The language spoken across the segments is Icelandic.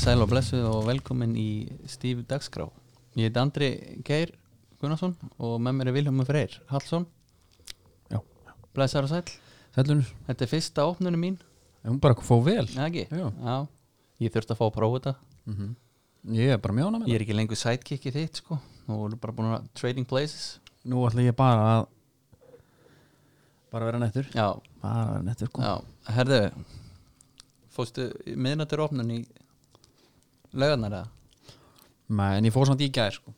sæl og blessuð og velkomin í Stíf Dagskrá Ég heit Andri Geir Gunnarsson og með mér er Vilhelmur Freyr Hallsson Já. Blessar og sæl, Sælunur, þetta er fyrsta opnunum mín hún bara að fá vel Eða ekki? Já. Ég þurfti að fá að prófa þetta Mhm. Ég er bara mjóna með Ég það er ekki lengur sidekicki þitt sko Nú erum bara búin að trading places Nú ætla ég bara að bara vera nettur Já, bara vera nettur sko. já, herðu Fóstu miðnættur opnun í laugarnar eða? Nei, En ég fór samt í gær sko.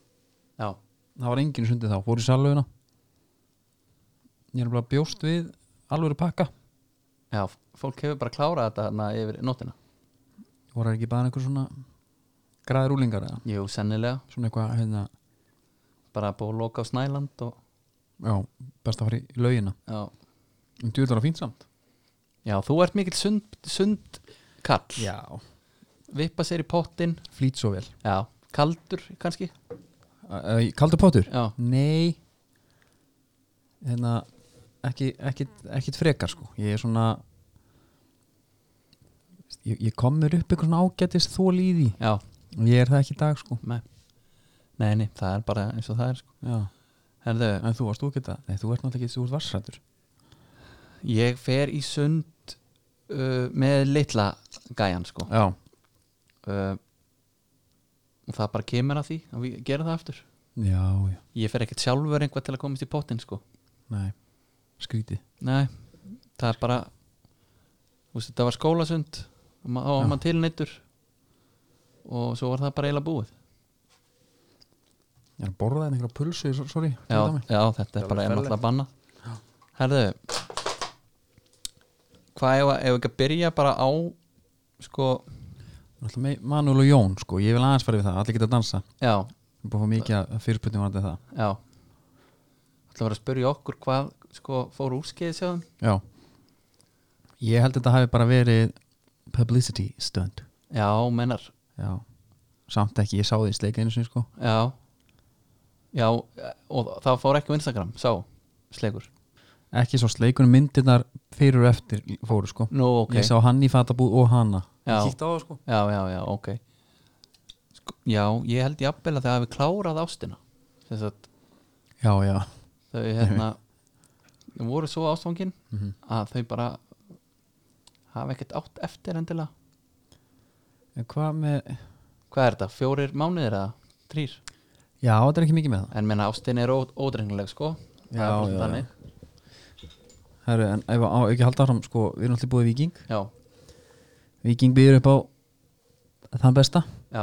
Já, það var engin sundi þá, fór í saluguna Ég er bara bjóst við alvöru pakka já, fólk hefur bara klárað þetta þarna yfir nóttina voru þær ekki bara einhver svona græðir úlingar eða Jú, sennilega svona eitthvað hérna, bara búið að loka á Snæland og já, best að fara í laugina já, en djúðlar að fínt samt já þú ert mikill sund, sund kall Já, vippa sér í pottin flýt svo vel já, kaldur kannski Æ, æ, Kaldur pottur? já, Nei hérna ekki, ekki, ekki frekar sko ég er svona ég, ég kom mér upp eitthvað svona ágætis þól í því já, og ég er það ekki í dag sko nei nei, nei, það er bara eins og það er sko. Já. Herðu, en þú varst úgæta, nei þú ert náttúrulega ekki þú ert varsrættur ég fer í sund uh, með litla gæjan sko Já, uh, og það bara kemur að því að við gera það aftur já, já, ég fer ekkert sjálfur einhvað til að komast í pottin sko nei skrítið, Nei, það er bara þú veist, þetta var skólasund og ma- þá var Já. maður tilneittur og svo var það bara eiginlega búið ég er að borða en einhverja pulsu so- sorry, já, fyrir mig. já, þetta er er bara alveg náttúrulega banna Herðu Hvað ef, ef ekki að byrja bara á sko, Náttúrulega með Manuel og Jón sko, ég vil aðeins fara við það, allir geta að dansa já, ég er búið að fá mikið að fyrirsputnum varandi það já Það var að spyrja okkur hvað sko, fór úrskeiði sjáðum Já Ég held að þetta hafi bara verið publicity stunt Já, mennar, Já Samt ekki, ég sá því sleika einu sinni sko já Já, og það fór ekki á Instagram, sá, slegur Ekki sá sleikunum myndirnar fyrir og eftir fóru sko Nú, ok Ég sá hann í fatabúð og hana Já. Ég kíkti á það sko Já, já, já, ok sko, Já, ég held jafnvel að það hafi klárað ástina þess að Já, já þau hérna þau voru svo ástfangin Mhm. að þau bara hafa ekkert átt eftir endilega En hvað með Hvað er þetta, fjórir mánuðir eða þrýr? Já, þetta er ekki mikið með það En menna ástin er ó- ódrengileg sko Það er Já, bara já, þannig. Herru, en ef á ekki halda áfram sko Við erum allir búið Viking já, Viking býður upp á Þann besta já,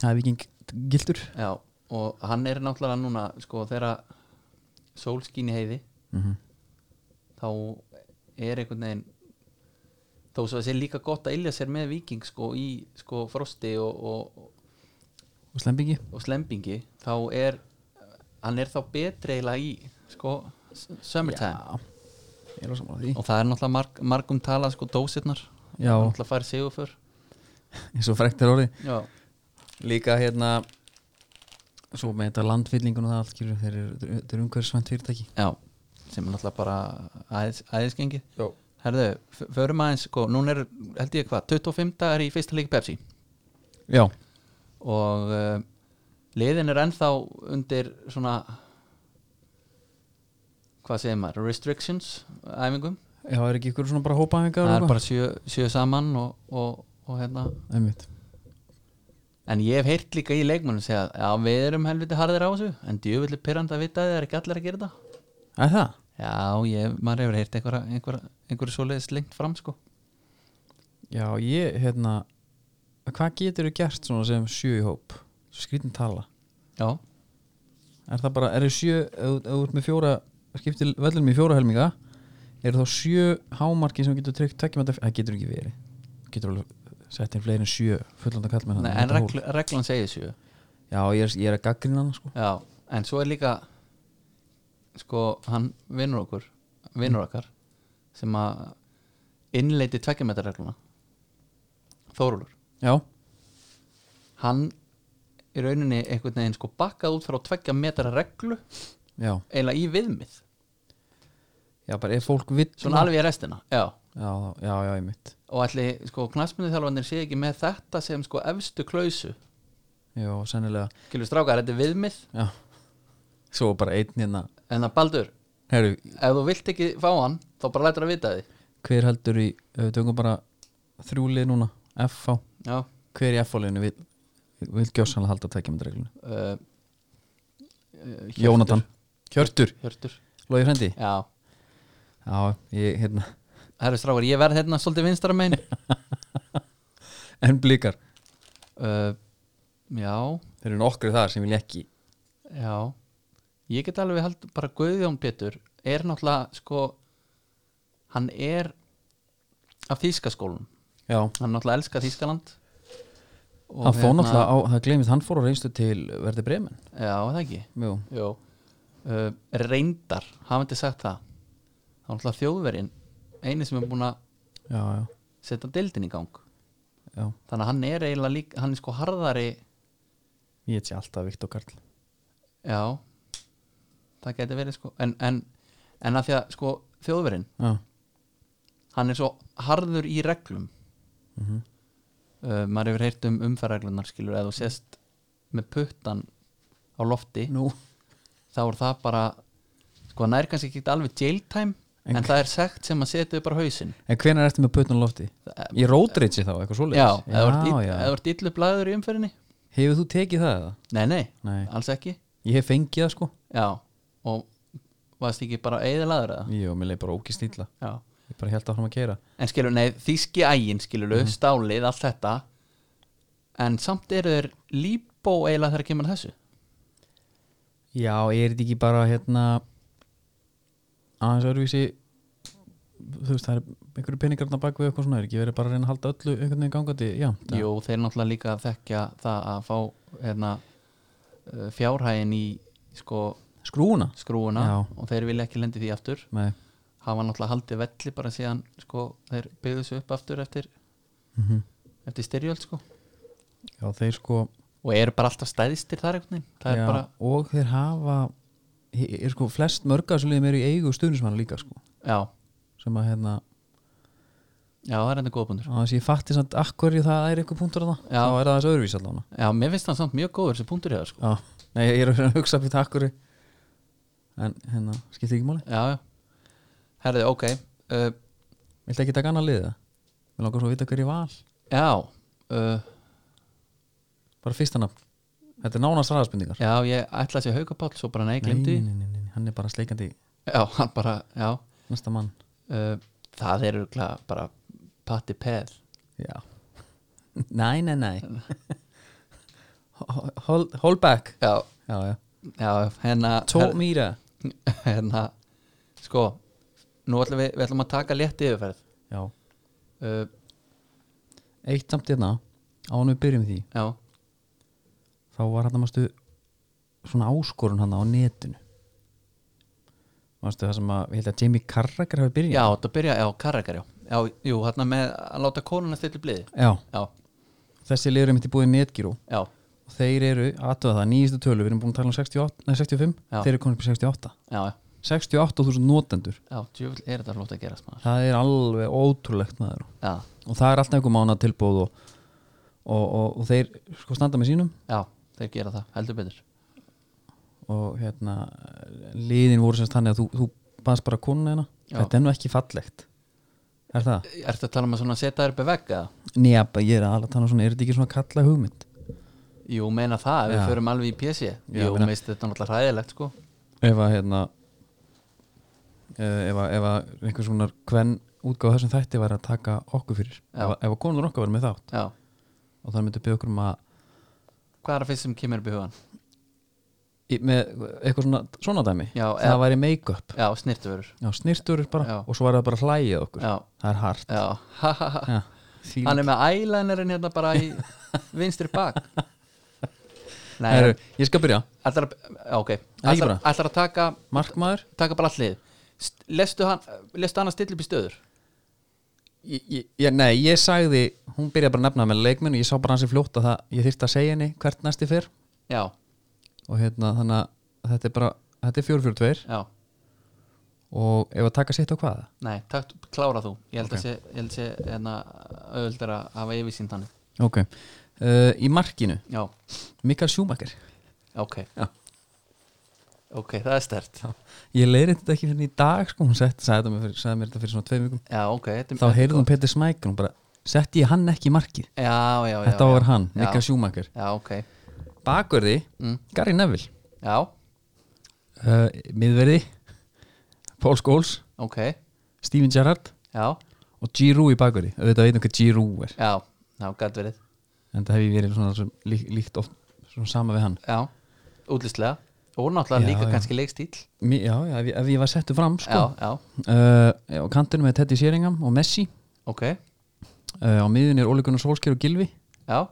Það er Viking gildur já og hann er náttúrulega núna sko þegar sólskín í heiði mm -hmm. þá er einhvern veginn þó svo þessi er líka gott að ylja sér með viking sko í sko frosti og, og, Og slembingi og slembingi þá er hann er þá betri eiginlega í sko s- summertime Ég er á saman því og það er náttúrulega marg, margum talað sko dósirnar Já, hann náttúrulega fær sigur fyrr eins og frekt er orðið já, líka hérna svo með þetta landfyllingun og það allt skilur þeir eru- þeir eru umhverfisvænt fyrirtæki já sem er náttúrulega bara aðeins, aðeinsgengi Já. herðu, f- förum aðeins sko núna er held ég hvað, 25 er í fyrsta leik Pepsi já, og uh, liðin er ennþá undir svona hvað segir maður, restrictions æfingum, já, er ekki ykkur svona bara hópaðingar það er bara sjö, sjö saman og, og, og hérna einmitt en ég hef heyrt líka í leikmannum segja já við erum helviti harðir á þessu en djöfulli pyrrandi að vita að það er ekki allir að gera þetta er það? já, ég, maður hefur heyrt einhverja einhverja, einhverja svoleiðis lengt fram sko já, ég, hérna hvað getur þú gert svona sem sjö í hóp svo skrítin tala já, er það bara, eru sjö ef ef þú ert með fjóra, skiptir vellum í fjóra helminga eru þá sjö hámarki sem þú getur tryggt tekjum að það getur ekki verið Þú getur alveg sett inn fleiri en sjö fullanda kall með Nei, en regl, reglan segir sjö já, ég er, ég er að gaggrina hana sko já, en svo er líka sko, hann vinnur okkur vinnur okkar sem að innleiti tvekkjumetarregluna Þórólur já, hann í rauninni einhvern veginn sko bakkað út frá tveggja metra reglu já eiginlega í viðmið Já, bara ef fólk vill svona alveg í restina já, já, þá- já, já, einmitt og ætli sko knastmyndu þjálfanir sé ekki með þetta sem sko efstu klausu já, sennilega Gilvi strákar, þetta er viðmið já. svo bara einn hérna en að Baldur, Heru, ef þú vilt ekki fá hann þá bara lætur að vita því hver heldur í ef við tökum bara þrjúlið núna FH, já, hver í FH-leginu vil, vil gjössanlega halda tækjumundreglunum uh, uh, Jónatan, Hjörtur, Hjörtur, Lói Frendi já já, ég, hérna, Herru strákar, ég verð hérna svolítið vinstra megin en blíkar uh, Já, þeir eru nokkru þar sem vil ekki já Ég get alveg hald bara Guðjón Pétur er náttúrulega sko hann er af Þýskaskólan já, hann náttúrulega elskar Þýskaland Og hérna- hann fór náttúrulega á, það gleymist, hann fór á reynstu til Verði Bremen Já, er það ekki Jú. Jó uh, Reyndar, hafandi sagt það þá er náttúrulega þjóðverinn eini sem er búin að já, já, setja deildin í gang já þannig að hann er eiginlega líka, hann er sko harðari ég sé alltaf Viktor Karl Já Það geti verið sko En, en, en að því að sko þjóðverinn já, Hann er svo harður í reglum mhm uh, Maður hefur heyrt um umferðreglunar skilur Eða þú sést með puttan á lofti nú, Þá er það bara Sko hann er kannski ekki alveg jail time En, En- það er sekt sem að setja upp bara hausinn en hvenær ertu með putnum lofti? Það- Í rótreitsi þá, eitthvað svoleiðis? Já, eða þú ert já, ill- já. eða þú ert illu blæður í umferðinni Hefur þú tekið það eða? Nei, nei, Nei, alls ekki ég hef fengið það sko Já, og varst ekki bara eðalaður eða? Jú, mér leið bara ókist illa Já Ég bara held áfram að keira en skilur, nei, þíski ægin skilur, Mhm. stálið, allt þetta en samt eru þeir líbó eiginlega þegar kemur að þessu Já, er þetta ekki bara hérna aðeins öðruvísi þú veist, það er einhverju peningarna bak við eitthvað svona, er ekki verið bara að reyna að halda öllu einhvern veginn gangandi, já jú, þeir náttúrulega líka þekkja það að fá hérna, uh, fjárhægin í sko, Skrúna? skrúuna Já. og þeir vilja ekki lendi því aftur Nei hafa náttúrulega haldið velli bara síðan sko, þeir byggðu þessu upp aftur eftir, Mhm. eftir styrjöld sko. Já, þeir sko og eru bara alltaf stæðistir þar einhvern veginn það já, er bara, og þeir hafa er sko flest mörg af þessu liðum eru í eigu stuðnismanna líka sko já, sem að hérna já, það er enda góðbundur aðeins ég fatti samt akkur í það er eitthvað punktur að það Já. þá er það aðeins öðruvís allavega já, mér finnst það samt mjög góður sem punktur hefur sko. Já, nei, ég er að vera að hugsa fyrir takkur En hérna, skiptir ekki máli já, já herðu, ok uh, Viltu ekki taka annað liða? Mér langar svo að vita hver í val já uh, Bara fyrsta nafn Þetta er nánast ræðaspendingar já, ég ætla að sé haugapáll svo bara nei, glemdi nei, nei, nei, hann er bara sleikandi já, hann bara, já næsta mann uh, það er örugglega bara patti peð Já Nei, nei, nei Ho- Hol- Hold back já, Já, já já, hérna Tó mýra her- hérna, sko nú ætlum við, við ætlum að taka létt yfirferð Já uh, Eitt samt hérna Án við byrjum því já, Þá var hann að mástu Svona áskorun hann á netinu Mástu það sem að Ég held að Jamie Carragher hafi byrjað já, þetta byrja já, karakar, já, já, jú, hérna með að láta konuna stilla bliði Já, já, þessi liður er mitt í búið Netgyro já, og þeir eru, aðtöða það, nýjistu tölu við erum búin að tala um 68, nei, 65 Já. þeir eru komin upp í 68 já, já 68.000 notendur, já, djöfull er þetta flótt að gera smaður það er alveg ótrúlegt maður já, og það er alltaf einhver mánu tilbúð og, og, og, og þeir sko standa með sínum já, þeir gera það, heldur betur og hérna liðin voru semst þannig að þú, þú baðst bara konuna hérna, Já. þetta er nú ekki fallegt er það? Ertu að tala um að svona setja þær upp í vegg eða? Nýja, ég er alveg að tala um svona, er þetta ekki svona kalla hugmynd? Jú, meina það, ef við Já. förum alveg í PC Jú, meina- meist þetta er náttúrulega hræðilegt sko ef að hérna eh, ef að, ef að einhvers konar hvern útgáð þessum þætti væri að taka okkur fyrir ef að, ef að konur okkar væri með þátt Já, og þannig myndi byggja okkur um að hvað er að fyrst sem kemur upp í hugan? í- með eitthvað svona, svona dæmi Já, það eða- væri make-up, Já, snirtuverur já, snirtur bara Já. og svo væri það bara að hlæja að okkur Já, það er hart já, ha ha ha já. Því, Hann er með eyelinerinn hérna bara í vinstri bak Nei, Heru, ég skal byrja, ætlar að já, Ok, Nei, ekki ætlar, bara. ætlar að taka markmaður taka bara allir Lestu hann, lestu hann að stilla upp í stöður ég, ég, ég- nei, ég sagði, hún byrjaði bara að nefna með leikmenn og ég sá bara hans í fljótt að það, ég þyrfti að segja henni hvert næsti fyrr Já, og hérna þannig að þetta er bara, þetta er 442 já, og ef að taka sitt á hvaða Nei, takt, klára þú Ég held Ok. að sé, ég held að sé hérna, auðvöldar að hafa yfirsýnd þannig ok, uh, í markinu Já, Mikael Schumacher ok Já. Ok, það er stert ég leiði þetta ekki fyrir í dag sko, hún sett, sagði, þetta mér fyrir, sagði mér þetta fyrir svona tveim vikum Já, ok þetta, þá heyrði hún gott. Peter Smækun og bara setti ég hann ekki í markið Já, já, já þetta já, var hann, já. Mikael Schumacher Já, ok bakverði, mm. Gary Neville Já, uh, miðverði Paul Scholes, ok Steven Gerrard Já, og Giroud í bakverði, auðvitað veitum hvað Giroud er já, já, gæt verið en það hef ég verið svona sem, lí, líkt oft svona sama við hann Já, útlistlega Og náttúrulega Já, líka já. kannski leikstíl Mér, já, já, ef, ég, ef ég var settu fram sko. Já, já, uh, á kantinu með Teddy Sheringham og Messi ok uh, á miðun er Ole Gunnar Solskjær og Gilvi Já,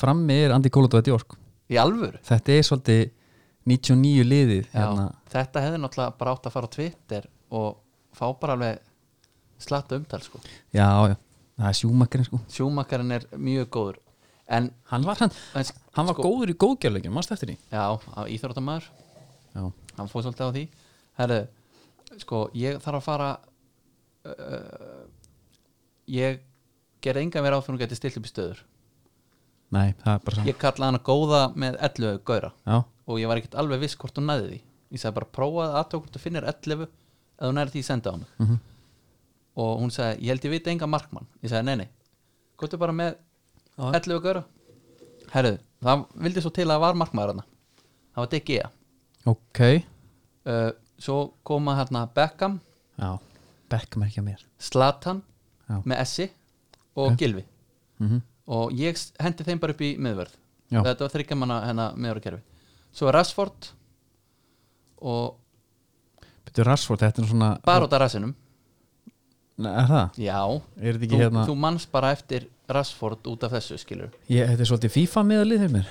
frammi er Andi Kóladóði Ork í alvöru þetta er svolítið 99 liðið Já, hérna. þetta hefði náttúrulega bara átt að fara á Twitter og fá bara alveg slatta umtal sko já, já, það er sjúmakarinn sko Sjúmakarinn er mjög góður en, hann var, hann, en hann Sko- var góður í góðgjörleikin, maður stættir í já, íþróttamæður, já, hann fór svolítið á því herru, sko ég þarf að fara uh, ég ger enga mér áfyrir hún geti stilt upp í stöður nei, það er bara sann ég kalla hana góða með 11 gauðra já, og ég var ekkert alveg viss hvort hún næði því ég sagði bara prófaði aðtöku hvort þú finnir 11 eða hún næri því senda á mig Mhm. og hún sagði, ég held ég viti enga markmann ég sagði, nei, nei, gotu bara með Já. 11 góra herruðu, það vildi svo til að það var markmaður hana það var DG ok já, uh, svo koma hérna Beckham Beckham er ekki að mér Slatan Já. með Essi og Gilvi mm og ég s- hendi þeim bara upp í miðverð Já. þetta var þryggja manna hennar miðverðkerfi svo Rashford og betur Rashford, þetta er nú svona bara út af rassinum Nei, er það, já, er þetta þú, ekki hérna þú manns bara eftir Rashford út af þessu skilur ég, þetta er svolítið FIFA meðalið fyrir mér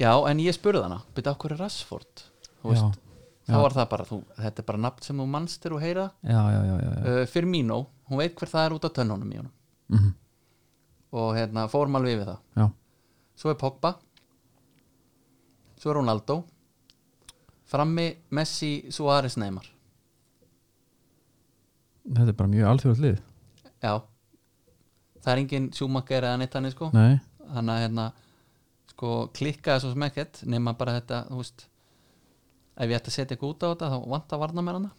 já, en ég spurði hana, byrja á hverju Rashford þú já, veist, þá já. var það bara þú, þetta er bara nafn sem þú manns til að heyra já, já, já, já, já. uh, Firmino, hún veit hver það er út af tönnunum í honum Mm og hérna, fórum alveg yfir það já. svo er Pogba svo er Ronaldo frammi Messi, Suárez Neymar þetta er bara mjög alþjóðlið lið já, það er engin sjúmakker eða neitt hann sko nei, þannig að hérna sko klikkaði svo sem ekkert nema bara þetta, þú veist ef ég ætti að setja eitthvað út á þetta þá vant að varna mér hana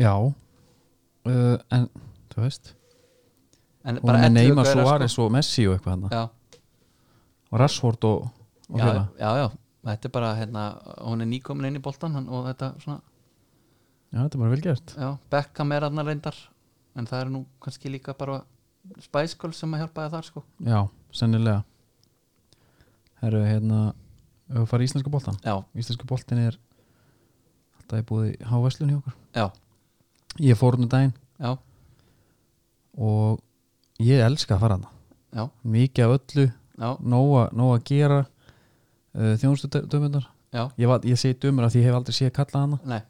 já uh, en, þú veist en og með 11 Neymar gaurar, sko. Suárez og Messi og eitthvað hann já, og Rashford og, og já, fleira. já, já, þetta er bara hérna, hún er nýkomin inn í boltan hann, og þetta svona, já, þetta er bara vel gert já, Beckham er hann reyndar en það er nú kannski líka bara Spice Girls sem að hjálpaði þar sko já, sennilega herru, hérna ef við fara í íslenska boltan já, íslenska boltin er alltaf ég búið í hávæslun hjá okkur já, ég fór hún um daginn já, og ég elska að fara hana já, mikið af öllu, já, nóga, nóga að gera uh, þjónustu dömundar já ég, var- ég segi dömur af því ég hef aldrei séð að kalla hana nei,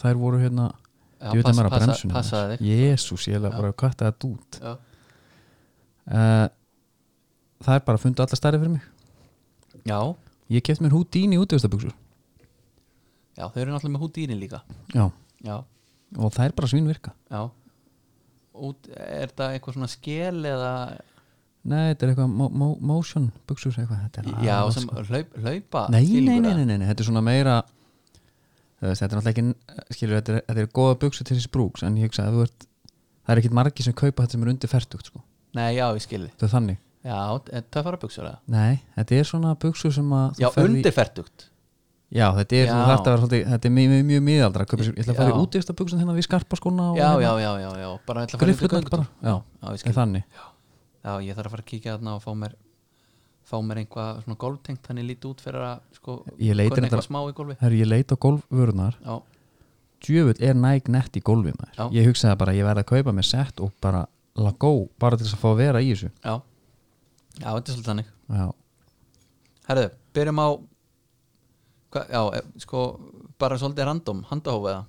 þær voru hérna já, ég veit að maður að passa- bremsunum passaði þig Jésús, ég hef bara að kvarta þetta út já, uh, Það er bara að funda alla stærri fyrir mig já, Ég keft mér Houdini útveðstabuxur já, þau eru náttúrulega með húdýrin líka Já, já, og það er bara svín virka Já Út, Er það eitthvað svona skel eða Nei, þetta er eitthvað mo mo motion buxur eitthvað þetta er Já, alveg sem sko. hlaup, hlaupa nei, nei, skilningur nei, eða? nei, nei, nei, þetta er svona meira þú veist, Þetta er náttúrulega ekki skilur, þetta er, þetta er góða buxur til þessi brúks en ég hugsa að þú ert það er ekkit margir sem kaupa þetta sem er undir fertugt sko. Nei, já, ég skilði Þetta er þannig Já, er töffara buksur eða Nei, þetta er svona buxur sem að þú Já, ferð í- undirfertugt Já, þetta er, Já. svona, þetta er, svolítið, þetta er mjög, mjög, mjög miðaldra Kaupa sér- Ég ætla að fara Já. í útvista buxum hérna við skarpa skona Já, já, já, já, já Bara ætla að fara Grifflutnar göngutúr. bara Já, Já, ég en skilði þannig Já, ég þarf að fara að kíkja þarna og fá mér fá mér einhvað svona golftengt þannig líti út fyrir að sko Ég leita kunna reyndar- eitthvað smá í golfi Herru, ég leit á golfvörunar Já, Djöfull er næg nett í golfi Já. maður Ég hugsaði bara, ég verði að kaupa mér sett og bara la go, bara til þess að fá að vera í þessu já Já, þetta er svolítið þannig Já, Herðu, byrjum á hva, Já, eh, sko bara svolítið random, handahófa eða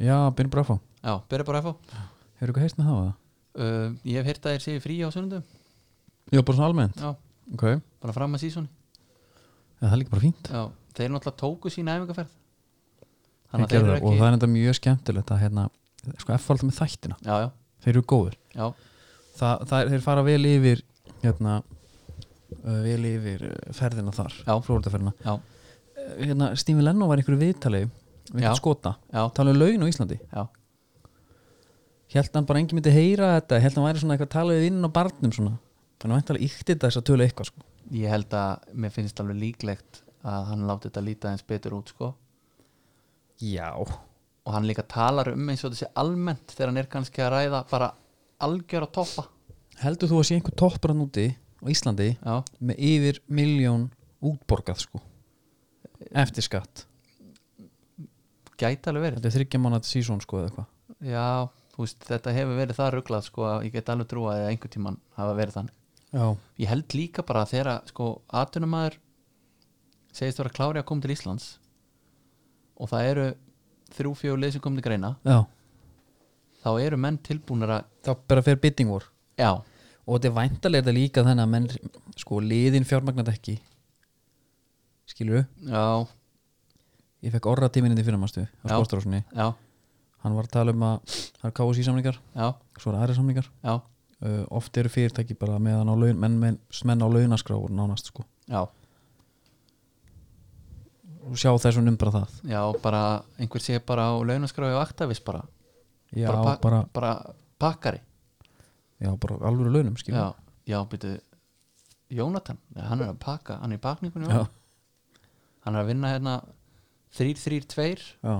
já byrjum bara að fá Já, byrjum bara að fá Hefur eitthvað heist með það? eða? Uh, ég hef heyrt að þér séu frí á sunnundum Já, bara svona almennt Já, Ok, ja, bara fram að sísoni það er líka bara fínt Já, þeir náttúrulega tóku sína æfingarferð þannig að Þeir þeir gerðu eru það, ekki og það er enda mjög skemmtilegt að hérna, sko F alltaf með þættina já, já, þeir eru góður já, Þa, það er, þeir fara vel yfir hérna, uh, vel yfir uh, ferðina þar Já. Flóridaferðina já, Uh, hérna, Stími Lennon var í einhverju viðtali við Já. einhvern skota, já, talaði um lögin á Íslandi já, held hann bara engin myndi heyra þetta held hann væri svona eitthvað talað við inn á barnum svona þannig að væntalega íkti þetta þess að tölu eitthvað sko. ég held að mér finnst alveg líklegt að hann láti þetta líta eins betur út sko já, og hann líka talar um eins og þessi almennt þegar hann er kannski að ræða bara algjör að toppa heldur þú að sé einhver toppar hann úti á Íslandi já, með yfir miljón útborgað sko eftir skatt gæti alveg verið þetta er þryggja mánat sísón sko eða eitthvað já, þú veist, þetta hefur verið það rugglað sko að ég get alveg trúa að einhver tíman hafa verið þannig já, ég held líka bara að þegar sko, atunumæður segist vera klári að koma til Íslands og það eru þrjú fjögur lið sem kom til greina já. þá eru menn tilbúnir að þá bara fer bidding vor já, og þetta er væntalega þetta líka þannig að menn sko liðin fjármagnat ekki skilur já, ég fekk orra tíminni fyrir mástu á Já. sportarásunni já, hann var að tala um að það er KSI samlingar já, svo er aðri samlingar já uh, oft eru fyrirtæki bara meðan á laun menn, menn, menn á launaskrá voru nánast sko já, og sjá þessum um bara það já, bara einhver sé bara á launaskráfi og aktavis bara já bara, bara, pak- bara pakkari já, bara alvöru launum skilur já, já, byrju Jónatan, já, hann er að pakka hann er í pakningunni, já, já. hann er að vinna hérna þrýr, þrýr, tveir já,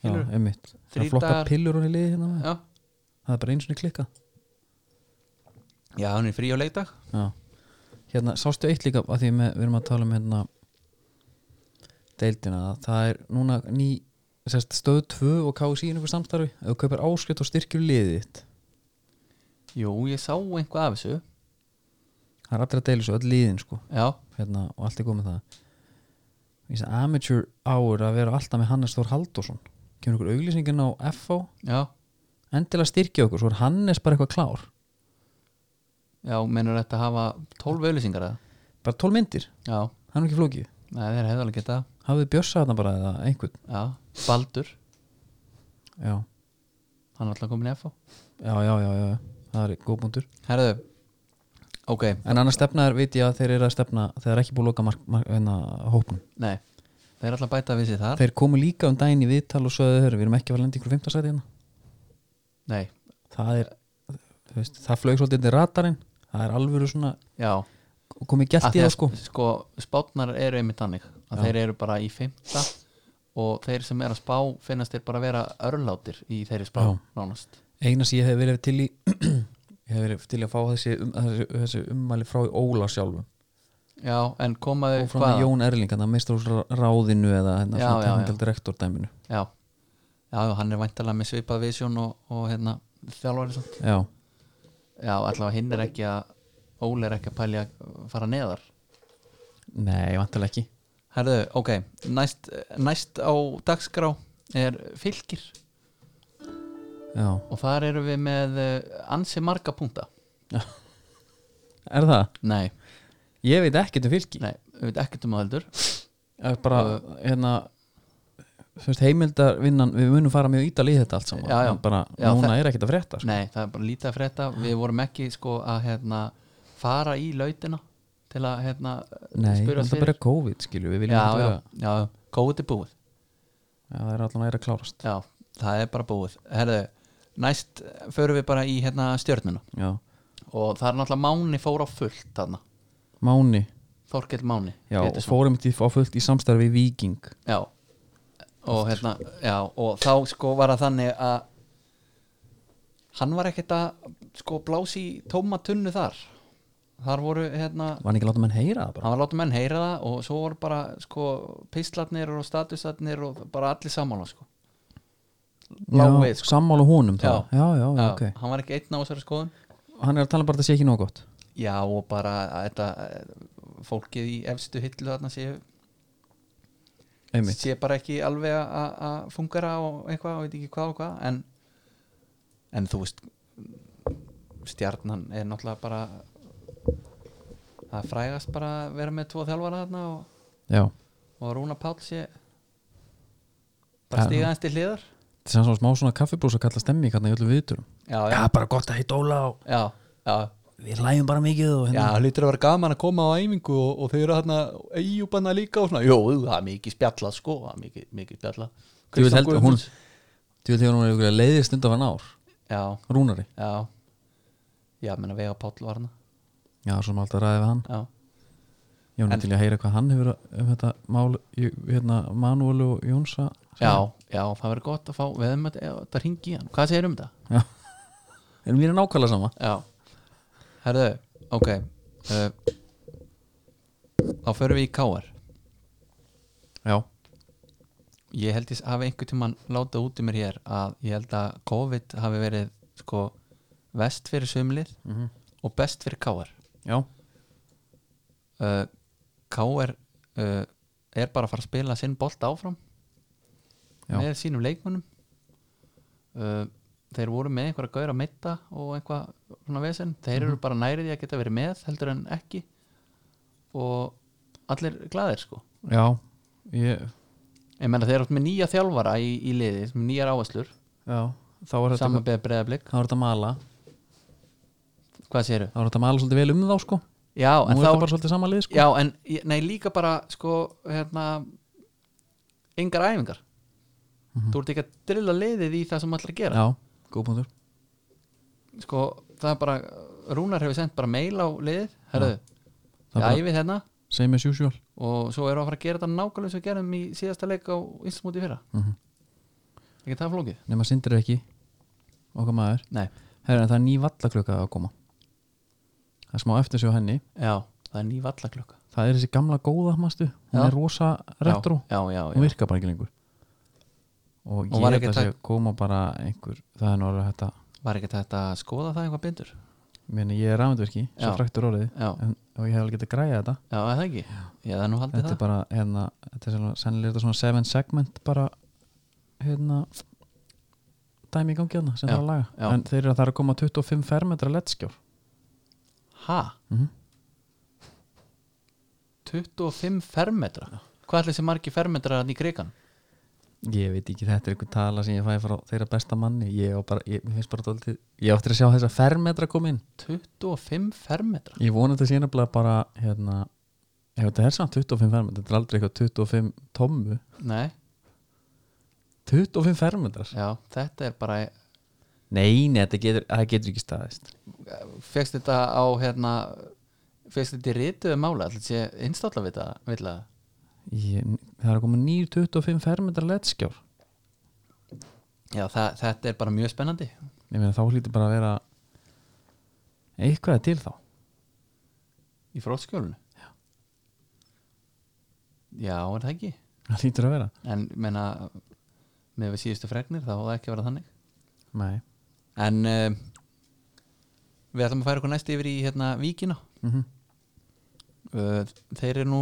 já skilur, einmitt það Þrír er flokka dagar- pillur hún í liði hérna maður. já, það er bara eins og klikka já, hann er í frí á leikdag Já. Hérna, sástu eitt líka að því með, við erum að tala um hérna deildina, að það er núna ný, sérst, stöð 2 og KSI í einhver samstarfi, ef þú kaupir áskrift og styrkir liðið þitt, Jú, ég sá einhvað af þessu það er allir að deila svo öll liðin sko, Já, hérna, og allt er góð með það Ég sé amateur hour að vera alltaf með Hannes Þór Halldórsson kemur ykkur auglýsingin á FH já, endilega styrkja okkur, svo er Hannes bara eitthvað klár já, mennur þetta að hafa tólf auðlýsingar eða? bara 12 myndir, Já, það er nú ekki flókið nei, þeir hefðu alveg geta hafið bjössað þarna bara eða einhvern Já, Baldur, já, hann er alltaf komin í FH já, já, já, já. það er góð búndur Herðu, ok, En annars stefnaðar veit ég að þeir eru að stefna þeir eru ekki búið að loka mark, mark, hérna, hópnum nei Þeir er alltaf að bæta við sér þar Þeir komu líka um daginn í viðtal og sögðu þeir við erum ekki að fara að lenda ykkur 15 sæti hérna Nei, Það er, þú veist, það flög svolítið inn í radarinn, það er alvöru svona já komið gælt Af í því það að, sko sko Spátnar eru einmitt þannig að Já. þeir eru bara í fimmta og þeir sem er að spá finnast þeir bara að vera örlátir í þeirri spá Já. nánast Eina sem ég hef verið til í ég hef verið til í að fá þessi, um, þessi, þessi ummæli frá Óla sjálfum Já, en komaðu og frá Hvaða? Jón Erling, þannig að meistur úr ráðinu eða hérna, Já, svona já, já. teknikal direktor dæminu Já, já, já, hann er væntalega með svipað visjón og, og hérna þjálfari samt Já, Já, allavega hinn er ekki að Óli er ekki að pælja að fara neðar nei, vantilega ekki Herðu, ok, næst, næst á dagskrá er fylgir Já, og þar eru við með eh, ansi marga punta er það? Nei, Ég veit ekkert um fylki nei, við veit ekkert um að heldur er bara hérna þú veist, heimildarvinnan, við munum fara mjög ítalið þetta allt saman, Já, já. en bara Já, núna það- er ekkert að frétta sko. Nei, það er bara lítið að frétta Við vorum ekki sko að hérna, fara í lautina til að hérna, Nei, spyrja það oss er fyrir bara COVID skilju, við viljum Já, ekki já, vera já, COVID er búið já, það er allan að er að klárast Já, það er bara búið Herðu, næst förum við bara í hérna, stjörnuna já. og það er náttúrulega Máni fór á fullt þarna Máni, Þorkell Máni já, og Pétursson. fórum til á fullt í samstarfi við Viking já. Og, hérna, já, og þá sko var það þannig að hann var ekkert að sko blási í tóma tunnu þar þar voru hérna var hann ekki að láta menn heyra það bara hann var að láta menn heyra það og svo voru bara sko pislarnir og statusarnir og bara allir sammála sko lág við, sko. sammála honum það, Já. já, já, Já, ok hann var ekki einn á þessari skoðun hann er að tala um bara að það sé ekki nóg gott Já og bara að þetta eh, fólkið í efstu hillu þarna séu einmitt, sé bara ekki alveg að- að að fungera og eitthvað og veit ekki hvað og hvað en, en þú veist stjarnan er náttúrulega bara það frægast bara að vera með tvo þjálfara þarna og, já, og Rúna Páll sé bara Já. stíga aðeins til hliðar Það er svona smá svona kaffibrús að kalla stemmi hérna í öllum viðturum já, já, Já, bara gott að hitta Óla og já, já, við hlæjum bara mikið og já hérna hlýtur að vera gaman að koma á æfingu og, og þau eru hérna eigjúbanna líka og svona, jú, það er mikið spjallað sko, það er mikið, mikið spjallað Þú vil Kristján heldur, hún Guðmunds- Þú vil hefur hún verið leiðist undan hann ár já, Rúnari já já, menna Vega Páll var hana Já, svo maður alltaf ræði við hann já, Ég var nú En- til í að heyra hvað hann hefur að- um þetta mál, Jú- hérna, Manuel og Jónsa já, já, það verður gott að fá við hefum þetta, já, þetta ringi hann, hvað segir um þetta? En mér er nákvæmlega sama Já Herðu, ok uh, Þá förum við í K.R. Já, Ég held ég hafi einhvern tímann látað út um mér hér að ég held að COVID hafi verið sko vest fyrir sumlið Mhm. og best fyrir K.R. já, Uh, K.R. Uh, er bara að fara að spila sinn bolt áfram Já. með sínum leikmönnum uh, þeir voru með einhverja gaur að meita og einhvað svona vesen þeir Mhm. eru bara nærið í að geta verið með heldur en ekki og allir glaðir sko já Ég, ég menna þeir eru oft með nýja þjálfara í, í liði með nýjar áherslur, já Þá var þetta, saman beða breyðablík þá var þetta að mala hvað séru? Þá var þetta að mala svolítið vel um þá sko Já, en Nú er þetta þá bara svolítið sama lið sko já, en, ég- nei, líka bara sko, hérna engar æfingar Mhm. þú ert ekki að drilla liðið í það sem allir að gera já góð punktur sko, það er bara Rúnar hefur sendt bara mail á liðið herðu, ég Það bara- æfið hérna Same as usual og svo erum við að fara að gera þetta nákvæmlega eins og við gerðum í síðasta leik á Íslandsmóti í fyrra Mhm. ekki það flókið? Nefna sindir ekki Okkar maður Nei, Herra, en það er ný vallaklöka að koma Það er smá eftir sér henni já, það er ný vallaklöka Það er þessi gamla góða, mástu Hún Já. er rosa retro, Já, já, já, hún virkar bara ekki lengur Og ég var held ekki að tæk- sé að koma bara einhver Það er nú alveg þetta Var ekki þetta að skoða það eitthvað bindur? Meni, Ég er rafendverki, svo Já. fræktur orðið Já, en, Og ég hef alveg getað að græja þetta já, er það ekki? Já, það er nú haldið Þetta er það bara, hérna, þetta er sennilega- sennilega er þetta svona seven segment bara, hérna dæmi í gangi hérna sem Já, það er að laga já. En þeir eru að það er að koma 25 fermetra lettskjór Ha? Mhm. 25 fermetra? Hvað ætli þessi margi fermetra hann í krigan? Ég veit ekki, þetta er einhver tala sem ég fæði frá þeirra besta manni Ég, á bara, ég mér finnst bara dóltið Ég áttir að sjá þessa fermetra koma inn 25 fermetra? Ég vona þetta sé nefnilega bara hérna, Ef þetta er samt 25 fermetra Þetta er aldrei eitthvað 25 tommu Nei, 25 fermetrar já, þetta er bara Nei, nei, þetta getur, það getur ekki staðist fegst þetta á hérna fegst þetta í rituðu mála allir sé instálla við það vill að- ég, Það er að koma nýr 25 fermetra lettskjór já það, þetta er bara mjög spennandi Ég meina þá hlýtur bara að vera Eitthvað er til þá í fróðskjólinu já já er það ekki Það hlýtur að vera en menna með við síðustu fregnir þá á það ekki að vera þannig Nei en um, við ætlum að færa okkur næst yfir í hérna víkina mm uh, þeir eru nú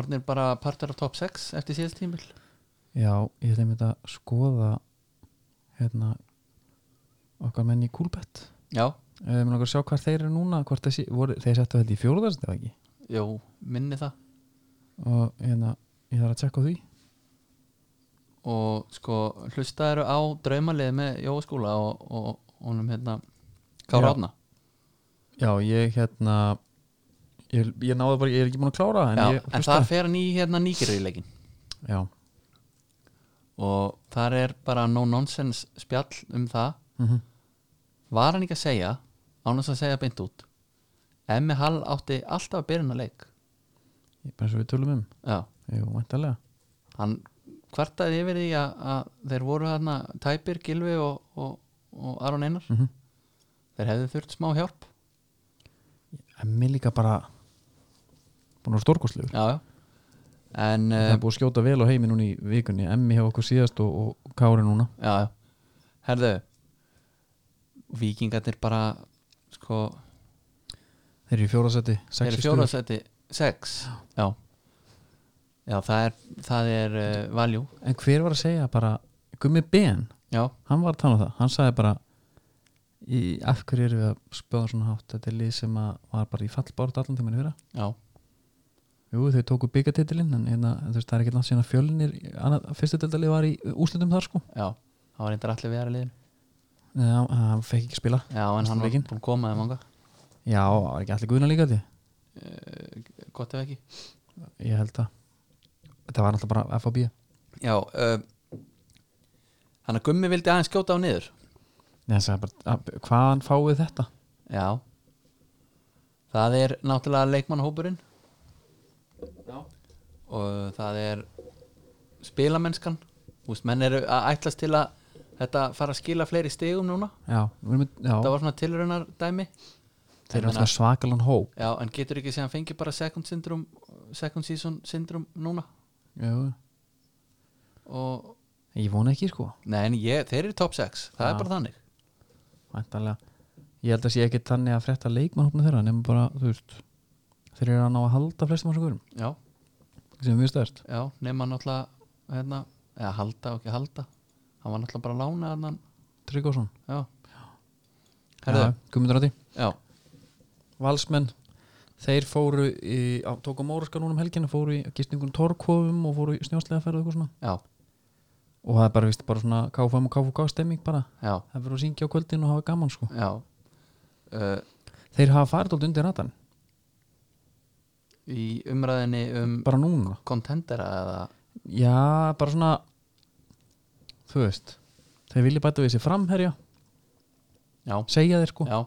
orðnir bara partur af top 6 eftir síðast tímil Já, ég ætla einmitt að skoða hérna okkar menn í Kúlbett já, Mér langar að sjá hvað þeir eru núna hvort þessi, voru, þeir settu þetta í fjórðarstu eða ekki jú, minni það og hérna, ég þarf að tjekka á því og sko hlusta eru á draumalið með Jóa skóla og, og honum hérna Já. Kára Átna Já, ég hérna ég, ég náði bara, ég er ekki búin að klára það, en en, ég en hlustaði. þar fer hann í hérna nýgerðilegin Já, og þar er bara no nonsense spjall um það mm var hann ekki að segja ánast að segja beint út Emmi Hall átti alltaf að byrja hennar leik ég bara eins og við tölum um já, Jú, væntalega hann kvartaði yfir því að, að þeir voru þarna Tæpir, Gilvi og, og, og Aron Einar mm -hmm. þeir hefðu þurft smá hjálp En mér líka bara búin að stórkostlegur já, já en eh, Það er búið að skjóta vel á heimi núna í vikunni Emmi hefur okkur síðast og, og Kári núna já, já. herðu vikingarnir bara sko, Þeir eru í fjórðarsetti, þeir eru fjóraðsæti sex já. já, það er það er uh, valjú En hver var að segja bara Gummi Ben, já, hann var að tala um það Hann sagði bara í, Af hverju erum við að spöða svona hátt Þetta er lið sem að var bara í fallbárt allan tímann í fyrra já Jú, þau tóku byggatitilinn en hérna, þú veist, það er ekki langt síðan að fjölnir annað, fyrstu deildalið var í úslutum þar sko já, það var reyndar allir við aðra liðin Nei, hann- hann fekk ekki spila já, en hann var Leikinn? búin að koma þeim ánga Já, var ekki allir guðna líka því Eh, gott ef ekki Ég held að Þetta var alltaf bara FAB já, uh, hann að Gummi vildi aðeins skjóta á niður Nei, það er bara, að- hvaðan fáið þetta? já það er náttúrulega leikmannhópurinn Já. og það er spilamennskan Úst, menn eru að ætlast til að þetta fara að skila fleiri stigum núna Já, við erum, já það var svona tilraunar dæmi þeir Ég eru meina- alltaf svakalan hóp Já, en getur ekki sem hann fengi bara second syndrom second season syndrom núna Já, og, ég vona ekki sko nei en ég, þeir eru top 6 það Já. er bara þannig Væntanlega, ég held að sé ekki þannig að frétta leikmannhópna þeirra nema bara, þú veist þeir eru að ná að halda flestum á svo guðum já, sem er mjög stærst já, nema náttúrulega hérna, eða halda og ekki halda hann var náttúrulega bara að lána hann Tryggvason já, Herðu. Já, Guðmundur Adi já, Valsmenn þeir fóru í, á, tóku móraska núna um helgina fóru í gistingun torkofum og fóru í snjóslega ferð og eitthvað svona já, og það er bara, víst, bara svona KFM og KFK stemming bara já, það verður að syngja á kvöldin og hafa gaman sko já uh, þeir hafa farið alltaf undir ratan, í umræðinni um bara núna contendera eða já, bara svona þú veist þeir vilja bæta við þessi framherja já, segja þeir sko, já,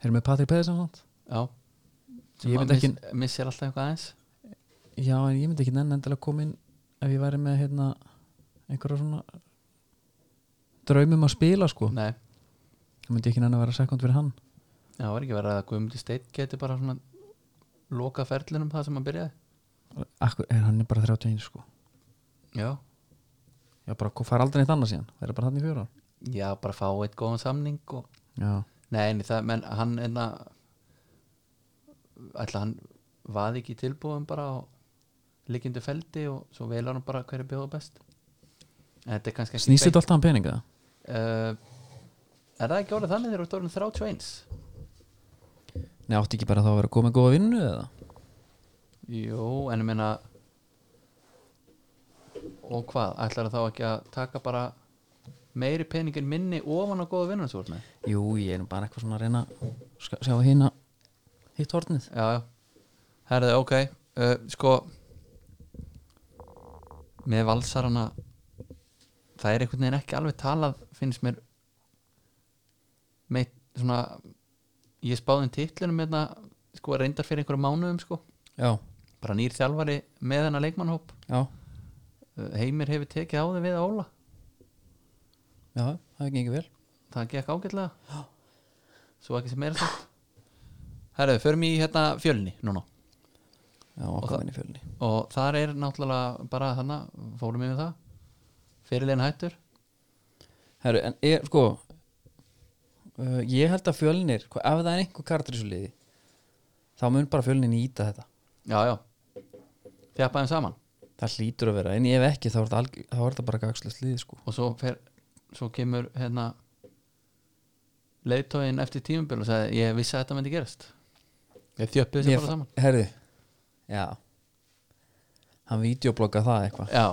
þeir eru með Patrik Pedersen og allt. já Ég að myndi ekki- miss, missir alltaf eitthvað aðeins já, en ég myndi ekki nenn endilega koma inn ef ég væri með hérna einhverja svona draumum að spila sko nei, það myndi ég ekki nenn að vera sekund fyrir hann já, var ekki verið að Guðmundi Steit geti bara svona loka ferlinum það sem hann byrjaði Akkur, er hann er bara 31 sko já, Já, bara hvað fær aldrei neitt annað síðan Það er bara þannig fjóra Já, bara fá eitt góðan samning og... Já, Nei, en það, menn, hann einna ætla hann vaði ekki í tilbúðum bara á líkindu feldi og svo velar hann bara hverju bjóða best en þetta er kannski ekki snýst þetta alltaf um peninga uh, Er það ekki orðið þannig þegar þú ert orðin 31? Nei, átti ekki bara þá að vera að koma með góða vinnu eða Jú, en ég meina og hvað, ætlar þá ekki að taka bara meiri peningin minni ofan á góða vinnarsvörna? Jú, ég er nú bara eitthvað svona að reyna að sk- sjá hérna hitt hornið Já, já Herðu, ok uh, Sko Með valsarana Það er einhvern veginn ekki alveg talað finnst mér meitt svona ég spáði um titlinum hérna sko reyndar fyrir einhverjum mánuðum sko Já, bara nýr þjálfari með hennar leikmannhóp já, Uh, Heimir hefur tekið á þeim við að óla já, það er ekki vel það gekk ágætlega svo ekki sem meira sagt Herðu, förum í hérna fjölni núna Já, okkar minni fjölni og þar er náttúrulega bara þannig, fórum yfir það fyrirlegin hættur Herru, en er, sko uh, Ég held að fjölnir, hva- ef það er einhver kartur í svo liði þá mun bara fjölnir nýta þetta já, já, þjappa þeim saman Það hlýtur að vera, en ef ekki þá er þetta, alg- þá er þetta bara gagslust liði sko og svo, fer, svo kemur hérna leiðtóin eftir tímubil og sagði ég vissi að þetta myndi gerast ég þjöppið þessi Mér bara fa- saman Herðu Já Hann videoblogga það eitthvað já,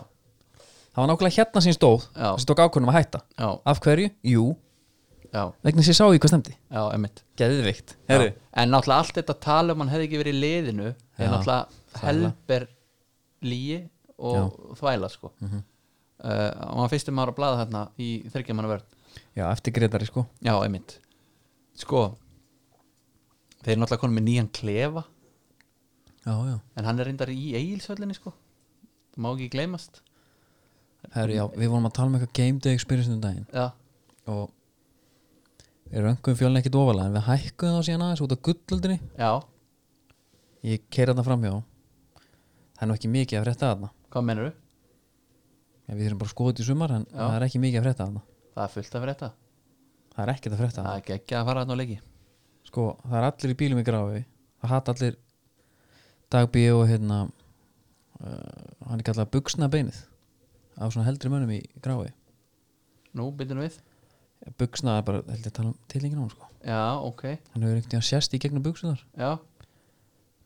Það var nákvæmlega hérna sem ég stóð Já. sem tók ákvörnum að hætta já, Af hverju? Jú já, Vegna þess að ég sá í hvað stemdi já, emmitt Geðvikt Herðu en náttúrulega allt þetta tala um hann hefði ekki verið í liðinu Já, er náttúrulega þvæla. helber líi og þvæla sko mm -hmm. uh, og hann fyrstum ára að blaða þarna í þryggjamanna vörn Já, eftir Gretari sko Já, einmitt Sko Þeir eru náttúrulega konum með nýjan klefa Já, já En hann er reyndar í eigilsvöllinni sko Það má ekki gleymast Herðu, já, við vorum að tala um eitthvað game day experience um daginn Já, og við röngum fjölni ekkit ofalega en við hækkuðum þá síðan aðeins út af gullöldinni já, Ég keira þarna framhjá Það er nú ekki mikið að frétta þarna hvað menurðu? En Við þurfum bara að skoða þetta í sumar en það er ekki mikið að frétta þarna Það er fullt að fyrir þetta Það er ekkert að frétta Það er ekki ekki að fara þarna á leiki sko, það er allir í bílum í grafi það hatt allir dagbí og hérna uh, hann er kallað buksna beinið af svona heldri mönnum í grafi Nú, byrjum við buksna er bara, held ég að tala um tilingin á hann sko Já, ok, hann hefur einhvern veginn sérst í gegnum buksunar já